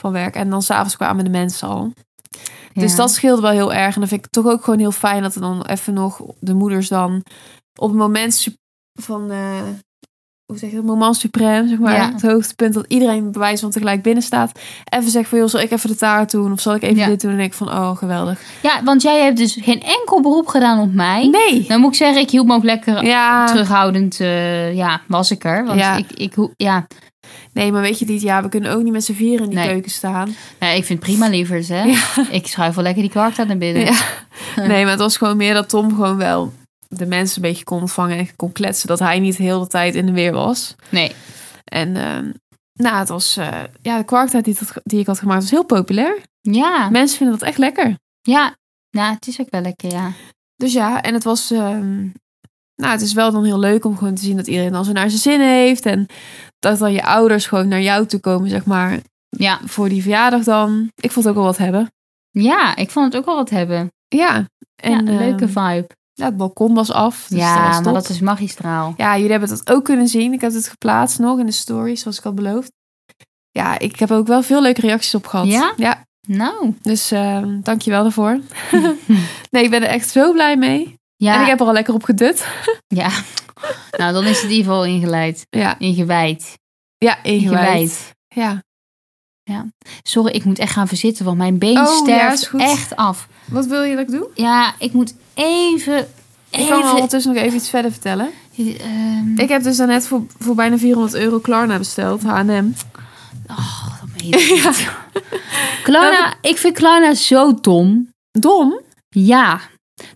[SPEAKER 1] van werk. En dan s'avonds kwamen de mensen al. Dus
[SPEAKER 2] Ja.
[SPEAKER 1] dat scheelde wel heel erg. En dan vind ik het toch ook gewoon heel fijn dat er dan even nog de moeders dan op het moment su- van, eh, hoe zeg je dat, moment suprême, zeg maar.
[SPEAKER 2] Ja.
[SPEAKER 1] Het hoogtepunt dat iedereen bij wijze van tegelijk binnen staat. Even zegt van, joh, zal ik even de taart doen? Of zal ik even
[SPEAKER 2] Ja.
[SPEAKER 1] dit doen? En dan denk ik van, oh, geweldig.
[SPEAKER 2] Ja, want jij hebt dus geen enkel beroep gedaan op mij.
[SPEAKER 1] Nee!
[SPEAKER 2] Dan moet ik zeggen, ik hield me ook lekker
[SPEAKER 1] Ja,
[SPEAKER 2] terughoudend. eh, ja, was ik er. Want
[SPEAKER 1] Ja.
[SPEAKER 2] ik, ik, hoe- ja.
[SPEAKER 1] nee, maar weet je dit ja, we kunnen ook niet met z'n vieren in die
[SPEAKER 2] Nee.
[SPEAKER 1] keuken staan.
[SPEAKER 2] Nou, ik vind het prima lievers, hè. Ik schuif wel lekker die kwarktaart naar binnen.
[SPEAKER 1] Ja. Nee, maar het was gewoon meer dat Tom gewoon wel de mensen een beetje kon ontvangen en kon kletsen. Dat hij niet heel de tijd in de weer was.
[SPEAKER 2] Nee.
[SPEAKER 1] En ehm, nou, het was, eh, ja, de kwarktaart die, dat- die ik had gemaakt was heel populair.
[SPEAKER 2] Ja.
[SPEAKER 1] Mensen vinden dat echt lekker.
[SPEAKER 2] Ja. Nou, het is ook wel lekker, ja.
[SPEAKER 1] Dus ja, en het was, ehm, nou, het is wel dan heel leuk om gewoon te zien dat iedereen dan zo naar zijn zin heeft. En dat dan je ouders gewoon naar jou toe komen, zeg maar,
[SPEAKER 2] Ja.
[SPEAKER 1] voor die verjaardag dan. Ik vond het ook wel wat hebben.
[SPEAKER 2] Ja, ik vond het ook wel wat hebben.
[SPEAKER 1] Ja. En
[SPEAKER 2] ja, een leuke
[SPEAKER 1] ehm,
[SPEAKER 2] vibe.
[SPEAKER 1] ja, het balkon was af. Dus dat was
[SPEAKER 2] ja, maar
[SPEAKER 1] top.
[SPEAKER 2] dat is magistraal.
[SPEAKER 1] Ja, jullie hebben dat ook kunnen zien. Ik heb het geplaatst nog in de stories, zoals ik had beloofd. Ja, ik heb er ook wel veel leuke reacties op gehad.
[SPEAKER 2] Ja?
[SPEAKER 1] Ja,
[SPEAKER 2] Nou.
[SPEAKER 1] Dus ehm dank je wel daarvoor. nee, ik ben er echt zo blij mee.
[SPEAKER 2] Ja.
[SPEAKER 1] En ik heb er al lekker op gedut.
[SPEAKER 2] Ja. Nou, dan is het in ieder geval ingeleid.
[SPEAKER 1] Ja,
[SPEAKER 2] Ingewijd.
[SPEAKER 1] ja ingewijd.
[SPEAKER 2] Ingewijd.
[SPEAKER 1] Ja.
[SPEAKER 2] Sorry, ik moet echt gaan verzitten, want mijn been
[SPEAKER 1] Oh, ja, is
[SPEAKER 2] sterft
[SPEAKER 1] goed.
[SPEAKER 2] echt af.
[SPEAKER 1] Wat wil je dat ik doe?
[SPEAKER 2] Ja, ik moet even...
[SPEAKER 1] Ik kan
[SPEAKER 2] even
[SPEAKER 1] ondertussen nog even iets verder vertellen.
[SPEAKER 2] Ehm,
[SPEAKER 1] Ik heb dus daarnet voor, voor bijna 400 euro Klarna besteld, H&M.
[SPEAKER 2] oh, dat meen je niet. Nou, Klarna, ik vind Klarna zo dom.
[SPEAKER 1] Dom?
[SPEAKER 2] Ja,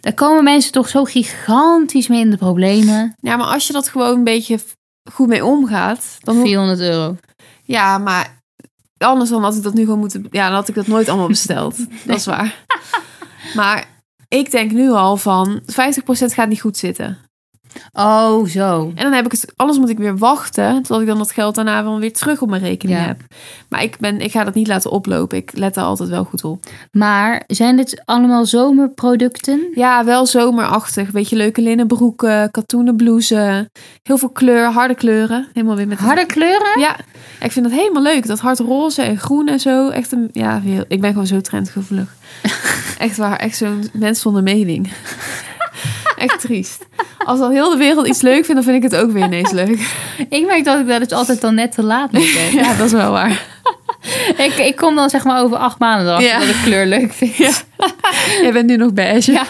[SPEAKER 2] Daar komen mensen toch zo gigantisch mee in de problemen.
[SPEAKER 1] Ja, maar als je dat gewoon een beetje f- goed mee omgaat, dan hoef-
[SPEAKER 2] 400 euro.
[SPEAKER 1] Ja, maar anders dan had ik dat nu gewoon moeten... Ja, dan had ik dat nooit allemaal besteld. Dat is waar. Maar ik denk nu al van 50% gaat niet goed zitten.
[SPEAKER 2] Oh, zo.
[SPEAKER 1] En dan heb ik het, anders moet ik weer wachten totdat ik dan dat geld daarna wel weer terug op mijn rekening
[SPEAKER 2] Ja.
[SPEAKER 1] heb. Maar ik, ben, ik ga dat niet laten oplopen. Ik let daar altijd wel goed op.
[SPEAKER 2] Maar zijn dit allemaal zomerproducten?
[SPEAKER 1] Ja, wel zomerachtig. Beetje leuke linnen broeken, katoenen blouses. Heel veel kleur, harde kleuren. Helemaal weer met
[SPEAKER 2] Harde kleuren?
[SPEAKER 1] Ja, ik vind dat helemaal leuk. Dat hard roze en groen en zo. Echt een, ja, heel- ik ben gewoon zo trendgevoelig. echt waar, echt zo'n mens zonder mening. echt triest. Als dan heel de wereld iets leuk vindt, dan vind ik het ook weer ineens leuk.
[SPEAKER 2] Ik merk dat ik daar dus altijd dan net te laat mee ben.
[SPEAKER 1] ja, dat is wel waar.
[SPEAKER 2] ik, ik kom dan zeg maar over acht maanden erachter
[SPEAKER 1] Ja.
[SPEAKER 2] dat ik kleur leuk vind. Ja.
[SPEAKER 1] Jij bent nu nog beige. Ja.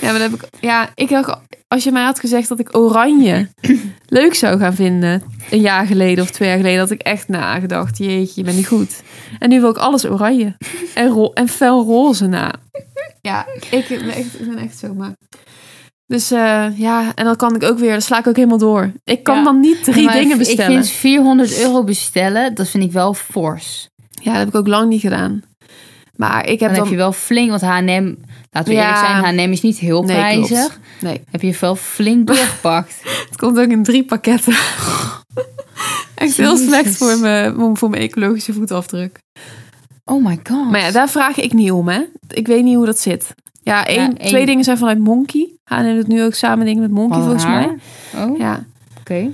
[SPEAKER 1] Ja, maar dat heb ik. Ja, ik dacht, als je mij had gezegd dat ik oranje leuk zou gaan vinden. Een jaar geleden of twee jaar geleden. had ik echt nagedacht. Jeetje, je bent niet goed. En nu wil ik alles oranje. En, ro en fel roze na. Ja, ik ben echt, ik ben echt zo maar. Dus eh, ja, en dan kan ik ook weer. Dan sla ik ook helemaal door. Ik kan
[SPEAKER 2] Ja.
[SPEAKER 1] dan niet drie
[SPEAKER 2] Maar
[SPEAKER 1] dingen bestellen.
[SPEAKER 2] Ik vind 400 euro bestellen, dat vind ik wel fors.
[SPEAKER 1] Ja, dat heb ik ook lang niet gedaan. Maar ik heb
[SPEAKER 2] Dan,
[SPEAKER 1] dan.
[SPEAKER 2] heb je wel flink, want H&M, laten we eerlijk
[SPEAKER 1] Ja.
[SPEAKER 2] zijn, H&M is niet heel
[SPEAKER 1] Nee, klopt.
[SPEAKER 2] prijzig.
[SPEAKER 1] Nee.
[SPEAKER 2] Heb je veel flink doorgepakt.
[SPEAKER 1] Het komt ook in drie pakketten. Echt heel
[SPEAKER 2] Jezus.
[SPEAKER 1] slecht voor mijn, voor mijn ecologische voetafdruk.
[SPEAKER 2] oh my god.
[SPEAKER 1] Maar ja, daar vraag ik niet om, hè. Ik weet niet hoe dat zit. Ja, één,
[SPEAKER 2] één.
[SPEAKER 1] twee dingen zijn vanuit Monkey. H&M doet nu ook samen dingen met Monkey,
[SPEAKER 2] Wat
[SPEAKER 1] volgens
[SPEAKER 2] raar.
[SPEAKER 1] mij.
[SPEAKER 2] Oh,
[SPEAKER 1] Ja.
[SPEAKER 2] oké.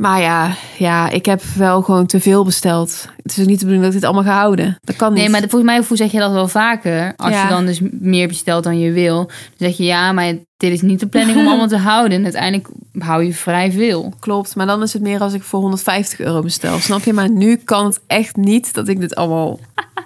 [SPEAKER 1] Maar ja, ja, ik heb wel gewoon te veel besteld. Het is ook niet de bedoeling dat ik dit allemaal ga houden. Dat kan niet.
[SPEAKER 2] Nee, maar de- volgens mij hoe zeg je dat wel vaker. Als
[SPEAKER 1] Ja.
[SPEAKER 2] je dan dus meer bestelt dan je wil. Dan zeg je ja, maar dit is niet de planning om allemaal te houden. En uiteindelijk hou je vrij veel.
[SPEAKER 1] Klopt, maar dan is het meer als ik voor 150 euro bestel. Snap je? Maar nu kan het echt niet dat ik dit allemaal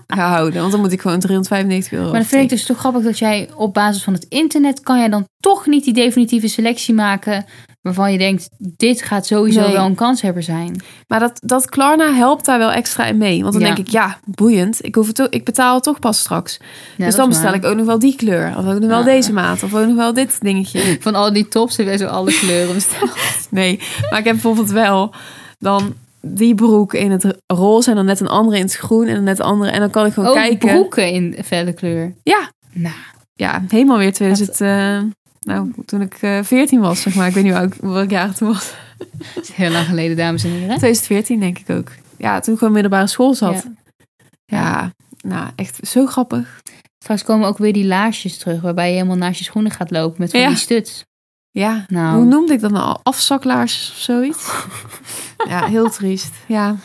[SPEAKER 1] ga houden. Want dan moet ik gewoon 395 euro
[SPEAKER 2] Maar dan vind ik
[SPEAKER 1] afsteken.
[SPEAKER 2] dus toch grappig dat jij op basis van het internet... kan jij dan toch niet die definitieve selectie maken... waarvan je denkt, dit gaat sowieso
[SPEAKER 1] Nee.
[SPEAKER 2] wel een kanshebber zijn.
[SPEAKER 1] Maar dat, dat Klarna helpt daar wel extra in mee. Want dan
[SPEAKER 2] Ja.
[SPEAKER 1] denk ik, ja, boeiend. Ik, hoef het ook, ik betaal het toch pas straks.
[SPEAKER 2] Ja,
[SPEAKER 1] dus
[SPEAKER 2] dat
[SPEAKER 1] dan
[SPEAKER 2] is
[SPEAKER 1] bestel
[SPEAKER 2] waar.
[SPEAKER 1] ik ook nog wel die kleur. Of ook nog wel
[SPEAKER 2] Ja.
[SPEAKER 1] deze maat. Of ook nog wel dit dingetje.
[SPEAKER 2] Van al die tops hebben wij zo alle kleuren besteld.
[SPEAKER 1] Nee, maar ik heb bijvoorbeeld wel dan die broek in het roze. En dan net een andere in het groen. En dan net een andere. En dan kan ik gewoon
[SPEAKER 2] Ook
[SPEAKER 1] kijken.
[SPEAKER 2] Oh, broeken in felle kleur.
[SPEAKER 1] Ja,
[SPEAKER 2] Nou,
[SPEAKER 1] ja, helemaal weer 2000... eh, nou, toen ik eh, 14 was, zeg maar. Ik weet niet welk, welk jaar het was.
[SPEAKER 2] dat is heel lang geleden, dames en heren.
[SPEAKER 1] 2014 denk ik ook. Ja, toen ik gewoon middelbare school zat.
[SPEAKER 2] Ja.
[SPEAKER 1] ja nou, echt zo grappig.
[SPEAKER 2] Straks komen ook weer die laarsjes terug... waarbij je helemaal naast je schoenen gaat lopen met van
[SPEAKER 1] Ja.
[SPEAKER 2] die stuts.
[SPEAKER 1] Ja,
[SPEAKER 2] Nou.
[SPEAKER 1] hoe noemde ik dat nou? Afzaklaars of zoiets? ja, heel triest. Ja.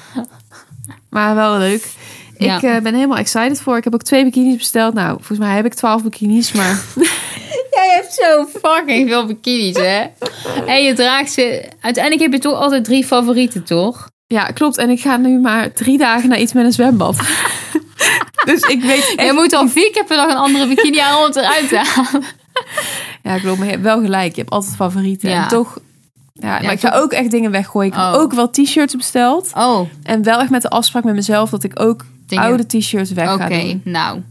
[SPEAKER 1] Maar wel leuk.
[SPEAKER 2] Ja.
[SPEAKER 1] Ik eh, ben helemaal excited voor. Ik heb ook twee bikinis besteld. Nou, volgens mij heb ik twaalf bikinis, maar
[SPEAKER 2] Jij hebt zo fucking veel bikinis, hè? En je draagt ze... Uiteindelijk heb je toch altijd drie favorieten, toch?
[SPEAKER 1] ja, klopt. En ik ga nu maar drie dagen naar iets met een zwembad. dus ik weet.
[SPEAKER 2] En je moet al vier keer per dag een andere bikini aan om het eruit te halen.
[SPEAKER 1] Ja, klopt. Maar je hebt wel gelijk. Je hebt altijd favorieten.
[SPEAKER 2] Ja.
[SPEAKER 1] En toch. Ja, maar ik ga
[SPEAKER 2] toch-
[SPEAKER 1] ook echt dingen weggooien. Ik heb
[SPEAKER 2] Oh.
[SPEAKER 1] ook wel t-shirts besteld.
[SPEAKER 2] Oh,
[SPEAKER 1] En wel echt met de afspraak met mezelf dat ik ook
[SPEAKER 2] Dingen-
[SPEAKER 1] oude t-shirts weg
[SPEAKER 2] oké.
[SPEAKER 1] ga doen.
[SPEAKER 2] Nou.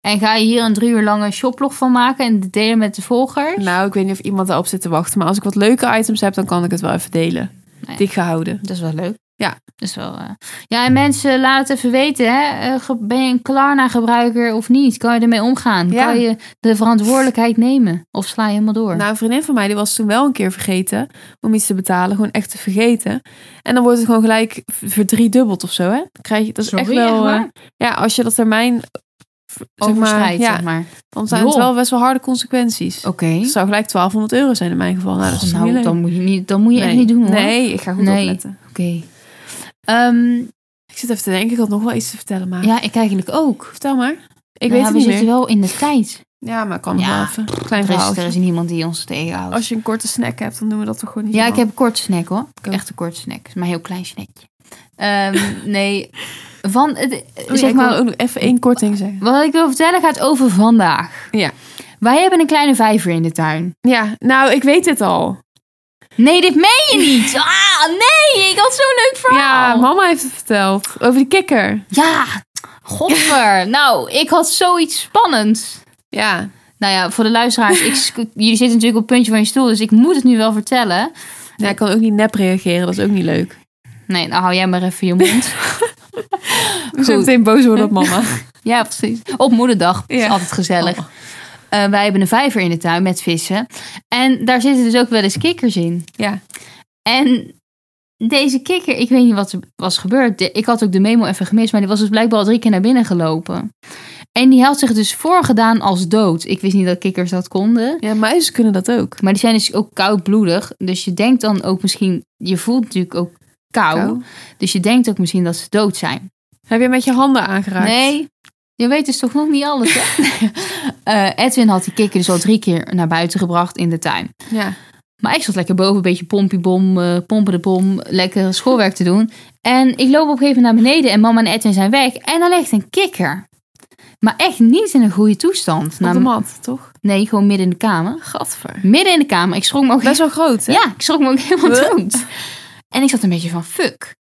[SPEAKER 2] En ga je hier een drie uur lange shoplog van maken en dit delen met de volgers?
[SPEAKER 1] Nou, ik weet niet of iemand daarop zit te wachten. Maar als ik wat leuke items heb, dan kan ik het wel even delen.
[SPEAKER 2] Nee.
[SPEAKER 1] Die ik ga houden.
[SPEAKER 2] Dat is wel leuk.
[SPEAKER 1] Ja.
[SPEAKER 2] Dat is wel... eh. Ja, en mensen, laat het even weten, hè. Eh, ge- Ben je een Klarna-gebruiker of niet? Kan je ermee omgaan?
[SPEAKER 1] Ja.
[SPEAKER 2] Kan je de verantwoordelijkheid nemen? Of sla je helemaal door?
[SPEAKER 1] Nou, een vriendin van mij die was toen wel een keer vergeten om iets te betalen. Gewoon echt te vergeten. En dan wordt het gewoon gelijk v- verdriedubbeld of zo, hè? Dan Krijg je, dat is echt
[SPEAKER 2] Sorry,
[SPEAKER 1] wel...
[SPEAKER 2] echt waar?
[SPEAKER 1] eh, ja, als je dat termijn... v- Zeg maar,
[SPEAKER 2] Overschrijdt,
[SPEAKER 1] ja,
[SPEAKER 2] zeg maar.
[SPEAKER 1] dan zijn het
[SPEAKER 2] Lol.
[SPEAKER 1] wel best wel harde consequenties.
[SPEAKER 2] Oké.
[SPEAKER 1] Het zou gelijk 1200 euro zijn in mijn geval. Nou, dat is
[SPEAKER 2] Och,
[SPEAKER 1] niet
[SPEAKER 2] nou,
[SPEAKER 1] leuk.
[SPEAKER 2] dan moet je, niet, dan moet je echt niet doen hoor.
[SPEAKER 1] Nee, ik ga goed
[SPEAKER 2] Nee.
[SPEAKER 1] opletten.
[SPEAKER 2] Oké. Ehm,
[SPEAKER 1] Ik zit even te denken, ik had nog wel iets te vertellen, maar...
[SPEAKER 2] ja, ik eigenlijk ook.
[SPEAKER 1] Vertel maar. Ah. Ik
[SPEAKER 2] Nou
[SPEAKER 1] weet
[SPEAKER 2] ja,
[SPEAKER 1] het
[SPEAKER 2] we
[SPEAKER 1] niet meer.
[SPEAKER 2] zitten wel in de tijd.
[SPEAKER 1] Ja, maar ik kan nog
[SPEAKER 2] Ja.
[SPEAKER 1] wel even. Oh, Klein
[SPEAKER 2] Er is, er
[SPEAKER 1] verhaaltje.
[SPEAKER 2] is niemand die ons tegenhoudt.
[SPEAKER 1] Als je een korte snack hebt, dan doen we dat toch gewoon niet.
[SPEAKER 2] ja, ik
[SPEAKER 1] normaal.
[SPEAKER 2] heb een kort snack hoor.
[SPEAKER 1] ook.
[SPEAKER 2] Echt een kort snack. Maar een heel klein snackje. Ehm, nee, van het,
[SPEAKER 1] Oh,
[SPEAKER 2] eh,
[SPEAKER 1] ja,
[SPEAKER 2] zeg
[SPEAKER 1] ik wil
[SPEAKER 2] maar,
[SPEAKER 1] ook nog even één korting zeggen.
[SPEAKER 2] wat ik wil vertellen gaat over vandaag.
[SPEAKER 1] Ja.
[SPEAKER 2] Wij hebben een kleine vijver in de tuin.
[SPEAKER 1] Ja, nou, ik weet dit al.
[SPEAKER 2] Nee, dit meen je niet. Ah, nee, ik had zo'n leuk verhaal.
[SPEAKER 1] Ja, mama heeft het verteld. Over die kikker.
[SPEAKER 2] Ja, godver. nou, ik had zoiets spannends.
[SPEAKER 1] Ja.
[SPEAKER 2] Nou ja, voor de luisteraars, ik, sk- jullie zitten natuurlijk op het puntje van je stoel, dus ik moet het nu wel vertellen.
[SPEAKER 1] Ja, ik kan ook niet nep reageren. Dat is ook niet leuk.
[SPEAKER 2] Nee, nou hou jij maar even je mond.
[SPEAKER 1] Ik zou
[SPEAKER 2] Goed.
[SPEAKER 1] meteen boos worden op mama.
[SPEAKER 2] Ja, precies. Op moederdag. Dat is
[SPEAKER 1] Ja.
[SPEAKER 2] altijd gezellig.
[SPEAKER 1] Oh.
[SPEAKER 2] Eh, wij hebben een vijver in de tuin met vissen. En daar zitten dus ook wel eens kikkers in.
[SPEAKER 1] Ja.
[SPEAKER 2] En deze kikker, ik weet niet wat er was gebeurd. De- Ik had ook de memo even gemist, maar die was dus blijkbaar al drie keer naar binnen gelopen. En die had zich dus voorgedaan als dood. Ik wist niet dat kikkers dat konden.
[SPEAKER 1] Ja, muizen kunnen dat ook.
[SPEAKER 2] Maar die zijn dus ook koudbloedig. Dus je denkt dan ook misschien, je voelt natuurlijk ook kou.
[SPEAKER 1] Kou.
[SPEAKER 2] Dus je denkt ook misschien dat ze dood zijn.
[SPEAKER 1] Heb je met je handen aangeraakt?
[SPEAKER 2] Nee, je weet dus toch nog niet alles, hè? Eh, Edwin had die kikker dus al drie keer naar buiten gebracht in de tuin.
[SPEAKER 1] Ja.
[SPEAKER 2] Maar ik zat lekker boven, een beetje pompiebom, eh pompen de bom, lekker schoolwerk te doen. En ik loop op een gegeven moment naar beneden en mama en Edwin zijn weg. En daar ligt een kikker. Maar echt niet in een goede toestand.
[SPEAKER 1] Op de
[SPEAKER 2] Nam-
[SPEAKER 1] mat, toch?
[SPEAKER 2] nee, gewoon midden in de kamer.
[SPEAKER 1] Gadver.
[SPEAKER 2] Midden in de kamer. Ik schrok me ook
[SPEAKER 1] Best wel groot, hè?
[SPEAKER 2] ja, ik schrok me ook helemaal
[SPEAKER 1] Huh?
[SPEAKER 2] dood. En ik zat een beetje van, fuck.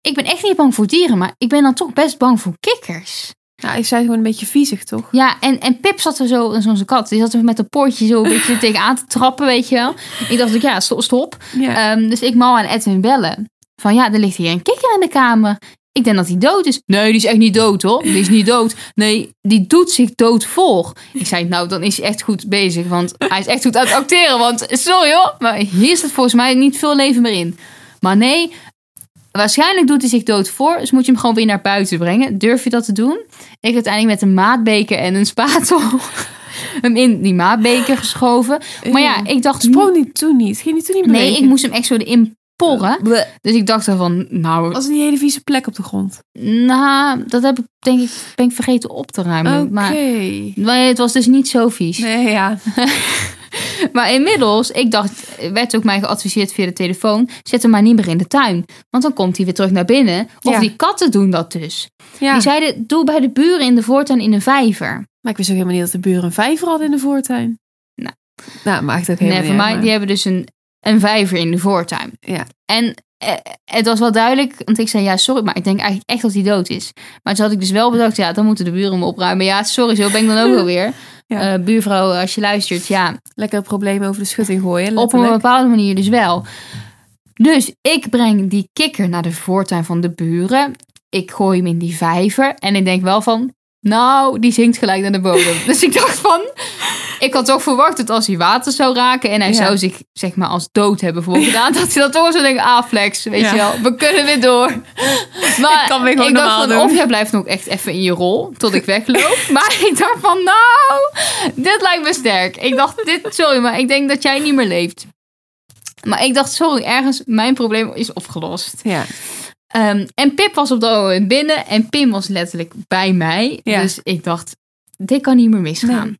[SPEAKER 2] Ik ben echt niet bang voor dieren, maar ik ben dan toch best bang voor kikkers.
[SPEAKER 1] Ja, ik zei gewoon een beetje viezig, toch?
[SPEAKER 2] Ja, en, en Pip zat er zo, dat is onze kat, die zat er met een poortje zo een beetje tegenaan te trappen, weet je wel. Ik dacht ook, ja, stop. stop.
[SPEAKER 1] Ja.
[SPEAKER 2] Ehm, dus ik mal aan Edwin bellen. Van ja, er ligt hier een kikker in de kamer. Ik denk dat hij dood is. Nee, die is echt niet dood hoor. Die is niet dood. Nee, die doet zich dood voor. Ik zei, nou, dan is hij echt goed bezig. Want hij is echt goed aan het acteren. Want sorry hoor, maar hier zit volgens mij niet veel leven meer in. Maar nee, waarschijnlijk doet hij zich dood voor. Dus moet je hem gewoon weer naar buiten brengen. Durf je dat te doen? Ik uiteindelijk met een maatbeker en een spatel hem in die maatbeker geschoven. Maar ja, ik dacht...
[SPEAKER 1] Sprong niet toen niet. Ging niet toen niet
[SPEAKER 2] Nee,
[SPEAKER 1] bewegen?
[SPEAKER 2] ik moest hem echt zo erin porren.
[SPEAKER 1] Bleh.
[SPEAKER 2] Dus ik dacht ervan, nou,
[SPEAKER 1] was een hele vieze plek op de grond.
[SPEAKER 2] nou, dat heb ik denk ik, ben ik vergeten op te ruimen.
[SPEAKER 1] Oké.
[SPEAKER 2] Maar, maar het was dus niet zo vies.
[SPEAKER 1] Nee, ja.
[SPEAKER 2] Maar inmiddels, ik dacht, werd ook mij geadviseerd via de telefoon, zet hem maar niet meer in de tuin. Want dan komt hij weer terug naar binnen. Of
[SPEAKER 1] Ja.
[SPEAKER 2] die katten doen dat dus.
[SPEAKER 1] ja.
[SPEAKER 2] Die zeiden, doe bij de buren in de voortuin in een vijver.
[SPEAKER 1] Maar ik wist ook helemaal niet dat de buren een vijver hadden in de voortuin.
[SPEAKER 2] Nou.
[SPEAKER 1] Nou, maakt ook helemaal
[SPEAKER 2] Nee, voor
[SPEAKER 1] niet uit,
[SPEAKER 2] mij,
[SPEAKER 1] maar-
[SPEAKER 2] die hebben dus een, een vijver in de voortuin.
[SPEAKER 1] Ja.
[SPEAKER 2] En eh, het was wel duidelijk, want ik zei ja, sorry, maar ik denk eigenlijk echt dat hij dood is. Maar toen had ik dus wel bedacht, ja, dan moeten de buren hem opruimen. Ja, sorry, zo ben ik dan ook alweer.
[SPEAKER 1] Ja.
[SPEAKER 2] Eh, buurvrouw, als je luistert, ja,
[SPEAKER 1] Lekker problemen over de schutting gooien.
[SPEAKER 2] op een
[SPEAKER 1] letterlijk.
[SPEAKER 2] bepaalde manier dus wel. Dus ik breng die kikker naar de voortuin van de buren. Ik gooi hem in die vijver. En ik denk wel van, nou, die zinkt gelijk naar de bodem. dus ik dacht van, ik had toch verwacht dat als hij water zou raken... en hij
[SPEAKER 1] Ja.
[SPEAKER 2] zou zich, zeg maar, als dood hebben voorgedaan... dat hij dat toch zo denkt, ah, flex, weet
[SPEAKER 1] Ja.
[SPEAKER 2] je wel, we kunnen weer door. Maar
[SPEAKER 1] Ik kan weer gewoon
[SPEAKER 2] ik dacht
[SPEAKER 1] normaal
[SPEAKER 2] van,
[SPEAKER 1] doen.
[SPEAKER 2] of jij blijft nog echt even in je rol tot ik wegloop. maar ik dacht van, nou, dit lijkt me sterk. Ik dacht, dit, sorry, maar ik denk dat jij niet meer leeft. Maar ik dacht, sorry, ergens, mijn probleem is opgelost.
[SPEAKER 1] Ja.
[SPEAKER 2] Ehm, en Pip was op dat moment binnen en Pim was letterlijk bij mij.
[SPEAKER 1] Ja.
[SPEAKER 2] Dus ik dacht, dit kan niet meer misgaan.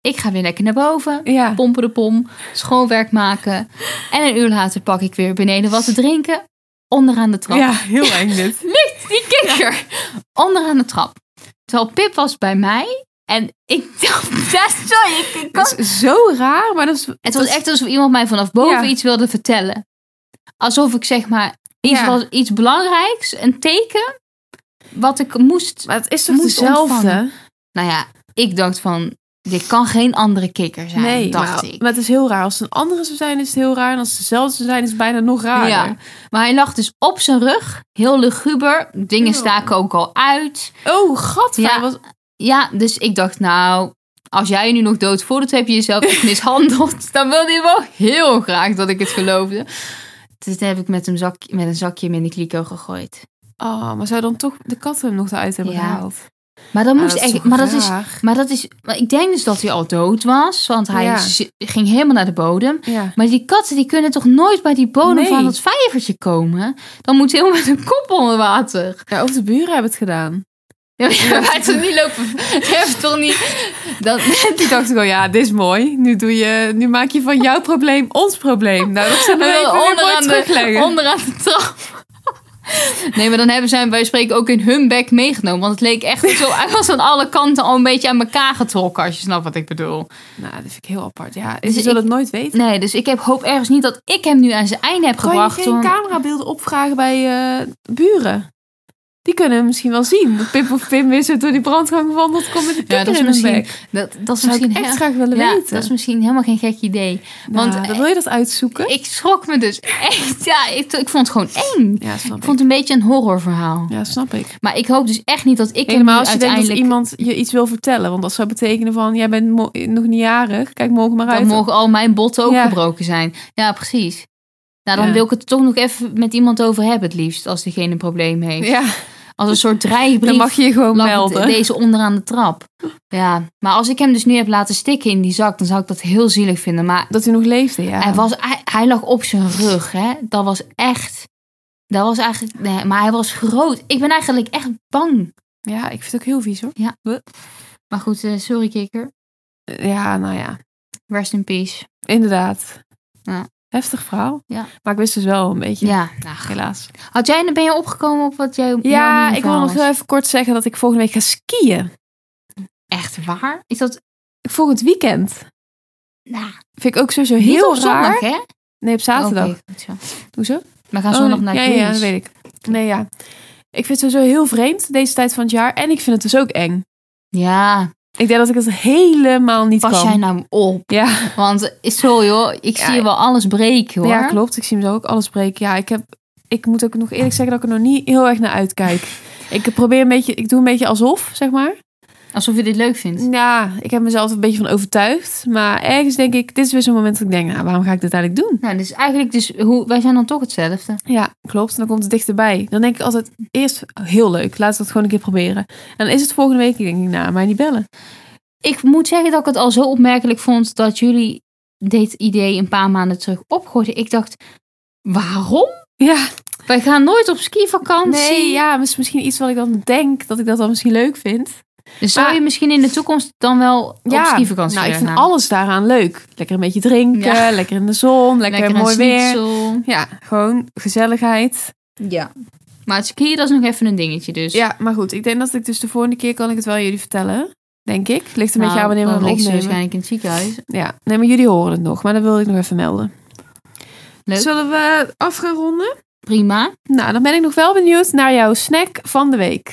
[SPEAKER 2] Ik ga weer lekker naar boven,
[SPEAKER 1] Ja.
[SPEAKER 2] pompen de pom, schoonwerk maken. En een uur later pak ik weer beneden wat te drinken, onderaan de trap.
[SPEAKER 1] ja, heel eng dit.
[SPEAKER 2] Die kikker. Onderaan de trap. Terwijl Pip was bij mij. En ik dacht, ja, sorry, ik- ik kan...
[SPEAKER 1] Dat is zo raar, maar dat is...
[SPEAKER 2] Het was echt alsof iemand mij vanaf boven
[SPEAKER 1] Ja.
[SPEAKER 2] iets wilde vertellen. Alsof ik zeg maar, iets,
[SPEAKER 1] Ja.
[SPEAKER 2] was, iets belangrijks, een teken, wat ik moest...
[SPEAKER 1] Maar het is toch
[SPEAKER 2] Moet
[SPEAKER 1] dezelfde?
[SPEAKER 2] ontvangen. Nou ja, ik dacht van, dit kan geen andere kikker zijn,
[SPEAKER 1] nee, nou,
[SPEAKER 2] dacht
[SPEAKER 1] maar,
[SPEAKER 2] ik.
[SPEAKER 1] maar het is heel raar. Als het een andere zou zijn, is het heel raar. En als het dezelfde zou zijn, is het bijna nog raarder.
[SPEAKER 2] Ja, maar hij lag dus op zijn rug, heel luguber. Dingen
[SPEAKER 1] Ew.
[SPEAKER 2] staken ook al uit.
[SPEAKER 1] Oh, gat.
[SPEAKER 2] Ja.
[SPEAKER 1] Ja. Was...
[SPEAKER 2] Ja, dus ik dacht, nou, als jij je nu nog dood voelt, heb je jezelf echt mishandeld. Dan wilde hij wel heel graag dat ik het geloofde. Dus toen heb ik met een, zak, met een zakje hem in de kliko gegooid.
[SPEAKER 1] Oh, maar zou dan toch de katten hem nog eruit hebben
[SPEAKER 2] Ja.
[SPEAKER 1] gehaald?
[SPEAKER 2] Maar dan
[SPEAKER 1] Ah,
[SPEAKER 2] moest
[SPEAKER 1] dat is
[SPEAKER 2] echt.
[SPEAKER 1] toch
[SPEAKER 2] Maar dat is.
[SPEAKER 1] raar?
[SPEAKER 2] Maar dat is. Maar ik denk dus dat hij al dood was. Want hij
[SPEAKER 1] Ja.
[SPEAKER 2] z- ging helemaal naar de bodem.
[SPEAKER 1] Ja.
[SPEAKER 2] Maar die katten die kunnen toch nooit bij die bodem
[SPEAKER 1] Nee.
[SPEAKER 2] van dat vijvertje komen? Dan moet hij helemaal met een kop onder water.
[SPEAKER 1] ja, of de buren hebben het gedaan.
[SPEAKER 2] Ja, maar hij heeft toch niet lopen. Hij heeft toch niet. Dan,
[SPEAKER 1] Die dacht ik al, ja, dit is mooi. Nu, doe je, nu maak je van jouw probleem ons probleem. Nou, dat zullen we
[SPEAKER 2] Wel
[SPEAKER 1] even weer mooi
[SPEAKER 2] onderaan de-
[SPEAKER 1] terugleggen.
[SPEAKER 2] onderaan de trap. Nee, maar dan hebben zij bij spreken ook in hun bek meegenomen. Want het leek echt zo. Hij was aan alle kanten al een beetje aan elkaar getrokken, als je snapt wat ik bedoel.
[SPEAKER 1] Nou, dat vind ik heel apart. Ja,
[SPEAKER 2] Dus
[SPEAKER 1] je zal
[SPEAKER 2] ik-
[SPEAKER 1] het nooit weten.
[SPEAKER 2] Nee, dus ik heb hoop ergens niet dat ik hem nu aan zijn einde heb
[SPEAKER 1] Kan je
[SPEAKER 2] gebracht.
[SPEAKER 1] geen
[SPEAKER 2] want-
[SPEAKER 1] camerabeelden opvragen bij eh, buren? die kunnen misschien wel zien. Dat Pip of Pim is er door die brandgang gewandeld komt met de
[SPEAKER 2] Ja,
[SPEAKER 1] ja,
[SPEAKER 2] dat
[SPEAKER 1] in
[SPEAKER 2] is
[SPEAKER 1] hun
[SPEAKER 2] misschien-
[SPEAKER 1] bek.
[SPEAKER 2] Dat, dat is
[SPEAKER 1] Zou ik
[SPEAKER 2] misschien
[SPEAKER 1] echt
[SPEAKER 2] heel-
[SPEAKER 1] graag willen
[SPEAKER 2] ja,
[SPEAKER 1] weten.
[SPEAKER 2] dat is misschien helemaal geen gek idee.
[SPEAKER 1] want, eh,
[SPEAKER 2] want- eh,
[SPEAKER 1] wil je dat uitzoeken?
[SPEAKER 2] Ik schrok me dus echt. Ja, ik, ik vond het gewoon eng.
[SPEAKER 1] Ja, snap
[SPEAKER 2] Ik
[SPEAKER 1] ik.
[SPEAKER 2] vond het een beetje een horrorverhaal.
[SPEAKER 1] Ja, snap ik.
[SPEAKER 2] Maar ik hoop dus echt niet dat ik hem
[SPEAKER 1] Helemaal
[SPEAKER 2] nu
[SPEAKER 1] als je denkt dat
[SPEAKER 2] uiteindelijk...
[SPEAKER 1] iemand je iets wil vertellen. Want dat zou betekenen van, jij bent mo- nog niet jarig. Kijk morgen maar uit.
[SPEAKER 2] Dan mogen al mijn botten ook
[SPEAKER 1] Ja.
[SPEAKER 2] gebroken zijn. Ja, precies. Nou, dan
[SPEAKER 1] Ja.
[SPEAKER 2] wil ik het toch nog even met iemand over hebben het liefst. Als diegene een probleem heeft.
[SPEAKER 1] Ja,
[SPEAKER 2] Als een soort
[SPEAKER 1] dan
[SPEAKER 2] dreigbrief
[SPEAKER 1] mag je je gewoon
[SPEAKER 2] lag het-
[SPEAKER 1] melden.
[SPEAKER 2] deze onderaan de trap. Ja, maar als ik hem dus nu heb laten stikken in die zak... dan zou ik dat heel zielig vinden. Maar
[SPEAKER 1] Dat hij nog leefde, ja.
[SPEAKER 2] Hij, was, hij, hij lag op zijn rug, hè. Dat was echt... Dat was eigenlijk... Nee, maar hij was groot. Ik ben eigenlijk echt bang.
[SPEAKER 1] Ja, ik vind het ook heel vies hoor.
[SPEAKER 2] Maar goed, eh, sorry kikker.
[SPEAKER 1] Ja, nou ja.
[SPEAKER 2] Rest in peace.
[SPEAKER 1] Inderdaad.
[SPEAKER 2] Ja.
[SPEAKER 1] Heftig verhaal.
[SPEAKER 2] Ja.
[SPEAKER 1] Maar ik wist dus wel een beetje.
[SPEAKER 2] Ja, nou, ge-
[SPEAKER 1] Helaas.
[SPEAKER 2] had jij, ben je opgekomen op wat jij... jouw
[SPEAKER 1] Ja,
[SPEAKER 2] nieuwe
[SPEAKER 1] ik wil
[SPEAKER 2] verhaal
[SPEAKER 1] nog
[SPEAKER 2] is?
[SPEAKER 1] heel even kort zeggen dat ik volgende week ga skiën.
[SPEAKER 2] Echt waar? Is dat...
[SPEAKER 1] Volgend weekend.
[SPEAKER 2] Nou,
[SPEAKER 1] Vind ik ook sowieso
[SPEAKER 2] niet
[SPEAKER 1] heel
[SPEAKER 2] op zondag,
[SPEAKER 1] raar.
[SPEAKER 2] hè? Oh,
[SPEAKER 1] Nee, op zaterdag.
[SPEAKER 2] Oké, goed zo.
[SPEAKER 1] Hoezo?
[SPEAKER 2] We gaan
[SPEAKER 1] Oh,
[SPEAKER 2] zondag
[SPEAKER 1] nee.
[SPEAKER 2] naar
[SPEAKER 1] ja,
[SPEAKER 2] Greece.
[SPEAKER 1] ja, ja, dat weet ik. Nee, ja. Ik vind het sowieso heel vreemd deze tijd van het jaar. En ik vind het dus ook eng.
[SPEAKER 2] Ja,
[SPEAKER 1] Ik denk dat ik het helemaal niet
[SPEAKER 2] pas
[SPEAKER 1] kan.
[SPEAKER 2] jij nou op.
[SPEAKER 1] Ja.
[SPEAKER 2] Want, eh, sorry hoor, ik
[SPEAKER 1] Ja,
[SPEAKER 2] zie wel alles breken, hoor.
[SPEAKER 1] ja, klopt. Ik zie hem zo ook alles breken. Ja, ik heb... Ik moet ook nog eerlijk zeggen dat ik er nog niet heel erg naar uitkijk. Ik probeer een beetje... Ik doe een beetje alsof, zeg maar.
[SPEAKER 2] Alsof je dit leuk vindt.
[SPEAKER 1] Ja, ik heb mezelf er een beetje van overtuigd. Maar ergens denk ik, dit is weer zo'n moment dat ik denk, nou, waarom ga ik dit eigenlijk doen?
[SPEAKER 2] Nou, dus eigenlijk dus hoe, wij zijn dan toch hetzelfde.
[SPEAKER 1] Ja, klopt. En dan komt het dichterbij. Dan denk ik altijd, eerst oh, heel leuk, laten we dat gewoon een keer proberen. En dan is het volgende week, denk ik, nou, mij niet bellen.
[SPEAKER 2] Ik moet zeggen dat ik het al zo opmerkelijk vond dat jullie dit idee een paar maanden terug opgooiden. Ik dacht, waarom?
[SPEAKER 1] Ja,
[SPEAKER 2] Wij gaan nooit op skivakantie.
[SPEAKER 1] nee, ja, mis- misschien iets wat ik dan denk, dat ik dat dan misschien leuk vind.
[SPEAKER 2] Dus zou je
[SPEAKER 1] Maar-
[SPEAKER 2] misschien in de toekomst dan wel
[SPEAKER 1] Ah. ja,
[SPEAKER 2] op skivakantie
[SPEAKER 1] Nou, ik
[SPEAKER 2] willen
[SPEAKER 1] vind
[SPEAKER 2] gaan?
[SPEAKER 1] alles daaraan leuk. Lekker een beetje drinken,
[SPEAKER 2] Ja.
[SPEAKER 1] lekker in de zon, lekker,
[SPEAKER 2] een
[SPEAKER 1] mooi weer.
[SPEAKER 2] schnitzel. Dus-
[SPEAKER 1] Ja, gewoon gezelligheid.
[SPEAKER 2] Ja. Maar het skiën, dat is nog even een dingetje dus.
[SPEAKER 1] Ja, maar goed, ik denk dat ik dus de volgende keer kan ik het wel jullie vertellen. Denk ik. Ligt een
[SPEAKER 2] Nou,
[SPEAKER 1] beetje aan wanneer we
[SPEAKER 2] dan
[SPEAKER 1] hem
[SPEAKER 2] liggen ze
[SPEAKER 1] opnemen.
[SPEAKER 2] waarschijnlijk in het ziekenhuis.
[SPEAKER 1] Ja, nee, maar jullie horen het nog. Maar dat wilde ik nog even melden.
[SPEAKER 2] Leuk.
[SPEAKER 1] Zullen we af gaan ronden?
[SPEAKER 2] Prima.
[SPEAKER 1] Nou, dan ben ik nog wel benieuwd naar jouw snack van de week.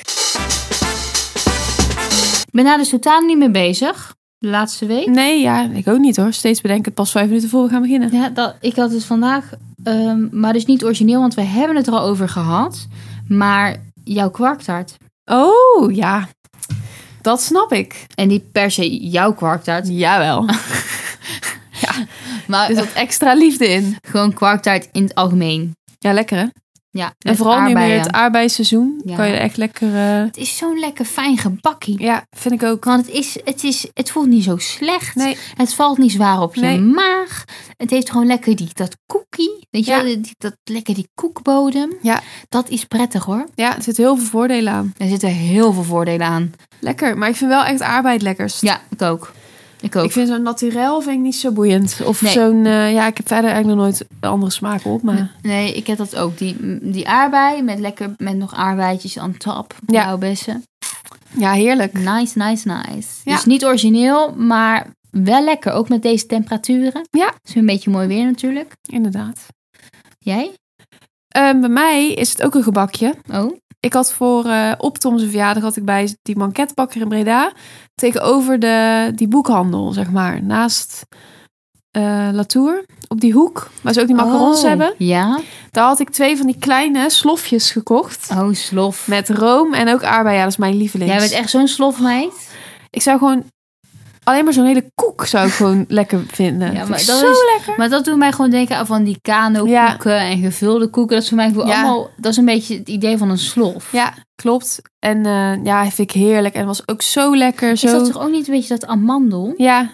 [SPEAKER 2] Ik ben daar dus totaal niet mee bezig. De laatste week.
[SPEAKER 1] Nee, ja, ik ook niet hoor. Steeds bedenken, pas vijf minuten voor we gaan beginnen.
[SPEAKER 2] Ja, dat, ik had het vandaag, ehm, maar dus niet origineel, want we hebben het er al over gehad. Maar jouw kwarktaart.
[SPEAKER 1] Oh, ja. Dat snap ik.
[SPEAKER 2] En niet per se jouw kwarktaart,
[SPEAKER 1] Jawel.
[SPEAKER 2] maar
[SPEAKER 1] Er zat extra liefde in.
[SPEAKER 2] gewoon kwarktaart in het algemeen.
[SPEAKER 1] Ja, lekker hè?
[SPEAKER 2] Ja,
[SPEAKER 1] en
[SPEAKER 2] met
[SPEAKER 1] vooral nu
[SPEAKER 2] aardbeien.
[SPEAKER 1] meer het aardbeisseizoen.
[SPEAKER 2] Ja.
[SPEAKER 1] Kan je er echt lekker... eh,
[SPEAKER 2] Het is zo'n lekker fijn gebakkie.
[SPEAKER 1] Ja, vind ik ook.
[SPEAKER 2] Want het, is, het, is, het voelt niet zo slecht.
[SPEAKER 1] Nee,
[SPEAKER 2] Het valt niet zwaar op je
[SPEAKER 1] Nee.
[SPEAKER 2] maag. Het heeft gewoon lekker die, dat koekie. Weet je
[SPEAKER 1] Ja.
[SPEAKER 2] wel, die- dat, lekker die koekbodem.
[SPEAKER 1] Ja.
[SPEAKER 2] Dat is prettig hoor.
[SPEAKER 1] ja, er zitten heel veel voordelen aan.
[SPEAKER 2] Er zitten heel veel voordelen aan.
[SPEAKER 1] Lekker, maar ik vind wel echt arbeid lekkerst.
[SPEAKER 2] Ja, ik ook. Ik ook.
[SPEAKER 1] Ik vind zo'n naturel vind ik niet zo boeiend. Of
[SPEAKER 2] Nee.
[SPEAKER 1] zo'n, eh, ja, ik heb verder eigenlijk nog nooit een andere smaak op, maar...
[SPEAKER 2] Nee, ik heb dat ook. Die, die aardbei met lekker met nog aardbeidjes aan top.
[SPEAKER 1] Ja.
[SPEAKER 2] Jouw bessen.
[SPEAKER 1] Ja, heerlijk.
[SPEAKER 2] Nice, nice, nice.
[SPEAKER 1] Ja.
[SPEAKER 2] Dus niet origineel, maar wel lekker. Ook met deze temperaturen.
[SPEAKER 1] Ja.
[SPEAKER 2] Het is een beetje mooi weer natuurlijk.
[SPEAKER 1] Inderdaad.
[SPEAKER 2] Jij?
[SPEAKER 1] Ehm, bij mij is het ook een gebakje.
[SPEAKER 2] Oh.
[SPEAKER 1] Ik had voor eh op Tom's verjaardag had ik bij die banketbakker in Breda tegenover de, die boekhandel, zeg maar. Naast eh, Latour, op die hoek, waar ze ook die macarons
[SPEAKER 2] Oh.
[SPEAKER 1] hebben.
[SPEAKER 2] Ja.
[SPEAKER 1] Daar had ik twee van die kleine slofjes gekocht.
[SPEAKER 2] Oh, slof.
[SPEAKER 1] Met room en ook aardbeien. Ja, dat is mijn lievelings.
[SPEAKER 2] Jij bent echt zo'n slofmeid.
[SPEAKER 1] Ik zou gewoon... Alleen maar zo'n hele koek zou ik gewoon lekker vinden.
[SPEAKER 2] Ja,
[SPEAKER 1] Ja,
[SPEAKER 2] maar
[SPEAKER 1] maar
[SPEAKER 2] dat
[SPEAKER 1] zo
[SPEAKER 2] is-
[SPEAKER 1] lekker.
[SPEAKER 2] Maar dat doet mij gewoon denken aan van die kano-koeken en gevulde koeken. Dat is voor mij gewoon
[SPEAKER 1] Ja.
[SPEAKER 2] allemaal... Dat is een beetje het idee van een slof.
[SPEAKER 1] Ja, klopt. En eh, ja, vind ik heerlijk. En het was ook zo lekker. Zo...
[SPEAKER 2] Is dat toch ook niet een beetje dat amandel?
[SPEAKER 1] Ja,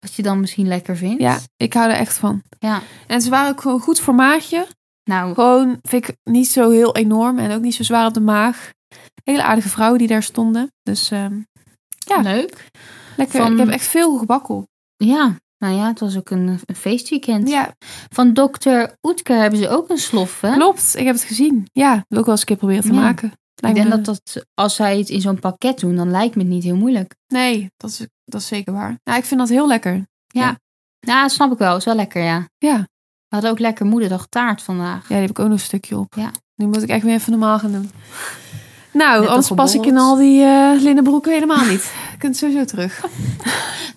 [SPEAKER 2] Wat je dan misschien lekker vindt?
[SPEAKER 1] Ja, ik hou er echt van.
[SPEAKER 2] Ja.
[SPEAKER 1] En ze waren ook gewoon goed voor maagje.
[SPEAKER 2] Nou,
[SPEAKER 1] Gewoon, vind ik niet zo heel enorm en ook niet zo zwaar op de maag. Hele aardige vrouwen die daar stonden. Dus ehm, Ja.
[SPEAKER 2] leuk.
[SPEAKER 1] lekker.
[SPEAKER 2] Van-
[SPEAKER 1] Ik heb echt veel gebakkel.
[SPEAKER 2] Ja, nou ja, het was ook een, een feestweekend.
[SPEAKER 1] Ja,
[SPEAKER 2] Van dokter Oetker hebben ze ook een slof, hè?
[SPEAKER 1] klopt. Ik heb het gezien. Ja, wil ik wel eens een keer proberen te
[SPEAKER 2] Ja.
[SPEAKER 1] maken.
[SPEAKER 2] Ik
[SPEAKER 1] Lijkt
[SPEAKER 2] denk
[SPEAKER 1] me-
[SPEAKER 2] dat, dat als zij het in zo'n pakket doen, dan lijkt me het niet heel moeilijk.
[SPEAKER 1] Nee, dat is, dat is zeker waar. Ja, ik vind dat heel lekker.
[SPEAKER 2] Nou, dat snap ik wel. is wel lekker, ja.
[SPEAKER 1] Ja.
[SPEAKER 2] We hadden ook lekker moederdag taart vandaag.
[SPEAKER 1] Ja, die heb ik ook nog een stukje op.
[SPEAKER 2] Ja.
[SPEAKER 1] Nu moet ik echt weer even normaal gaan doen. Nou,
[SPEAKER 2] Net
[SPEAKER 1] anders
[SPEAKER 2] al
[SPEAKER 1] pas ik in
[SPEAKER 2] geborreld.
[SPEAKER 1] al die eh linnenbroeken helemaal niet. Je kunt sowieso terug.
[SPEAKER 2] Oh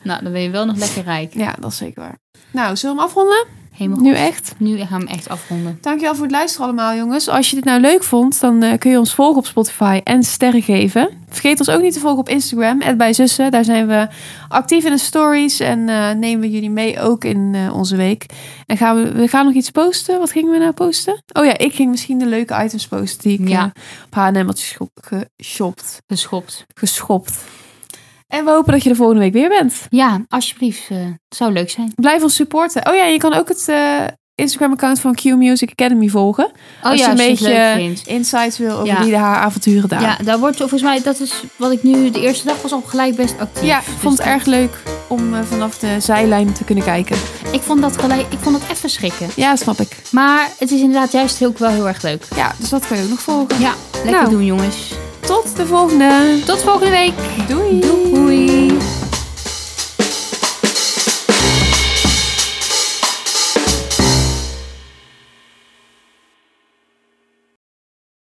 [SPEAKER 2] Nou, dan ben je wel nog lekker rijk.
[SPEAKER 1] Ja, dat is zeker waar. Nou, zullen we hem afronden?
[SPEAKER 2] Helemaal
[SPEAKER 1] Nu
[SPEAKER 2] goed.
[SPEAKER 1] echt.
[SPEAKER 2] Nu gaan we hem echt afronden.
[SPEAKER 1] Dankjewel voor het luisteren allemaal, jongens. Als je dit nou leuk vond, dan eh, kun je ons volgen op Spotify en sterren geven. Vergeet ons ook niet te volgen op Instagram, @bijzussen. Daar zijn we actief in de stories en eh, nemen we jullie mee ook in eh, onze week. En gaan we, we gaan nog iets posten. Wat gingen we nou posten? Oh ja, ik ging misschien de leuke items posten die ik
[SPEAKER 2] Ja.
[SPEAKER 1] ja. op H&M had gescho- geshopt.
[SPEAKER 2] Geschopt.
[SPEAKER 1] geschopt. En we hopen dat je er volgende week weer bent.
[SPEAKER 2] Ja, alsjeblieft. eh, het zou leuk zijn.
[SPEAKER 1] Blijf ons supporten. Oh ja, en je kan ook het eh, Instagram-account van Q Music Academy volgen.
[SPEAKER 2] Oh
[SPEAKER 1] Als
[SPEAKER 2] ja,
[SPEAKER 1] je een
[SPEAKER 2] als je het
[SPEAKER 1] beetje-
[SPEAKER 2] leuk vindt.
[SPEAKER 1] Insights wil over
[SPEAKER 2] Ja.
[SPEAKER 1] die haar avonturen daar.
[SPEAKER 2] Ja, daar wordt volgens mij, dat is wat ik nu de eerste dag was al gelijk best actief.
[SPEAKER 1] Ja, ik
[SPEAKER 2] Dus
[SPEAKER 1] vond het
[SPEAKER 2] dat-
[SPEAKER 1] erg leuk om eh, vanaf de zijlijn te kunnen kijken.
[SPEAKER 2] Ik vond dat gelijk, ik vond het even schrikken.
[SPEAKER 1] Ja, snap ik.
[SPEAKER 2] Maar het is inderdaad juist ook wel heel erg leuk.
[SPEAKER 1] Ja, dus dat kan je ook nog volgen.
[SPEAKER 2] Ja, lekker
[SPEAKER 1] Nou.
[SPEAKER 2] doen jongens.
[SPEAKER 1] Tot de volgende.
[SPEAKER 2] Tot volgende week.
[SPEAKER 1] Doei.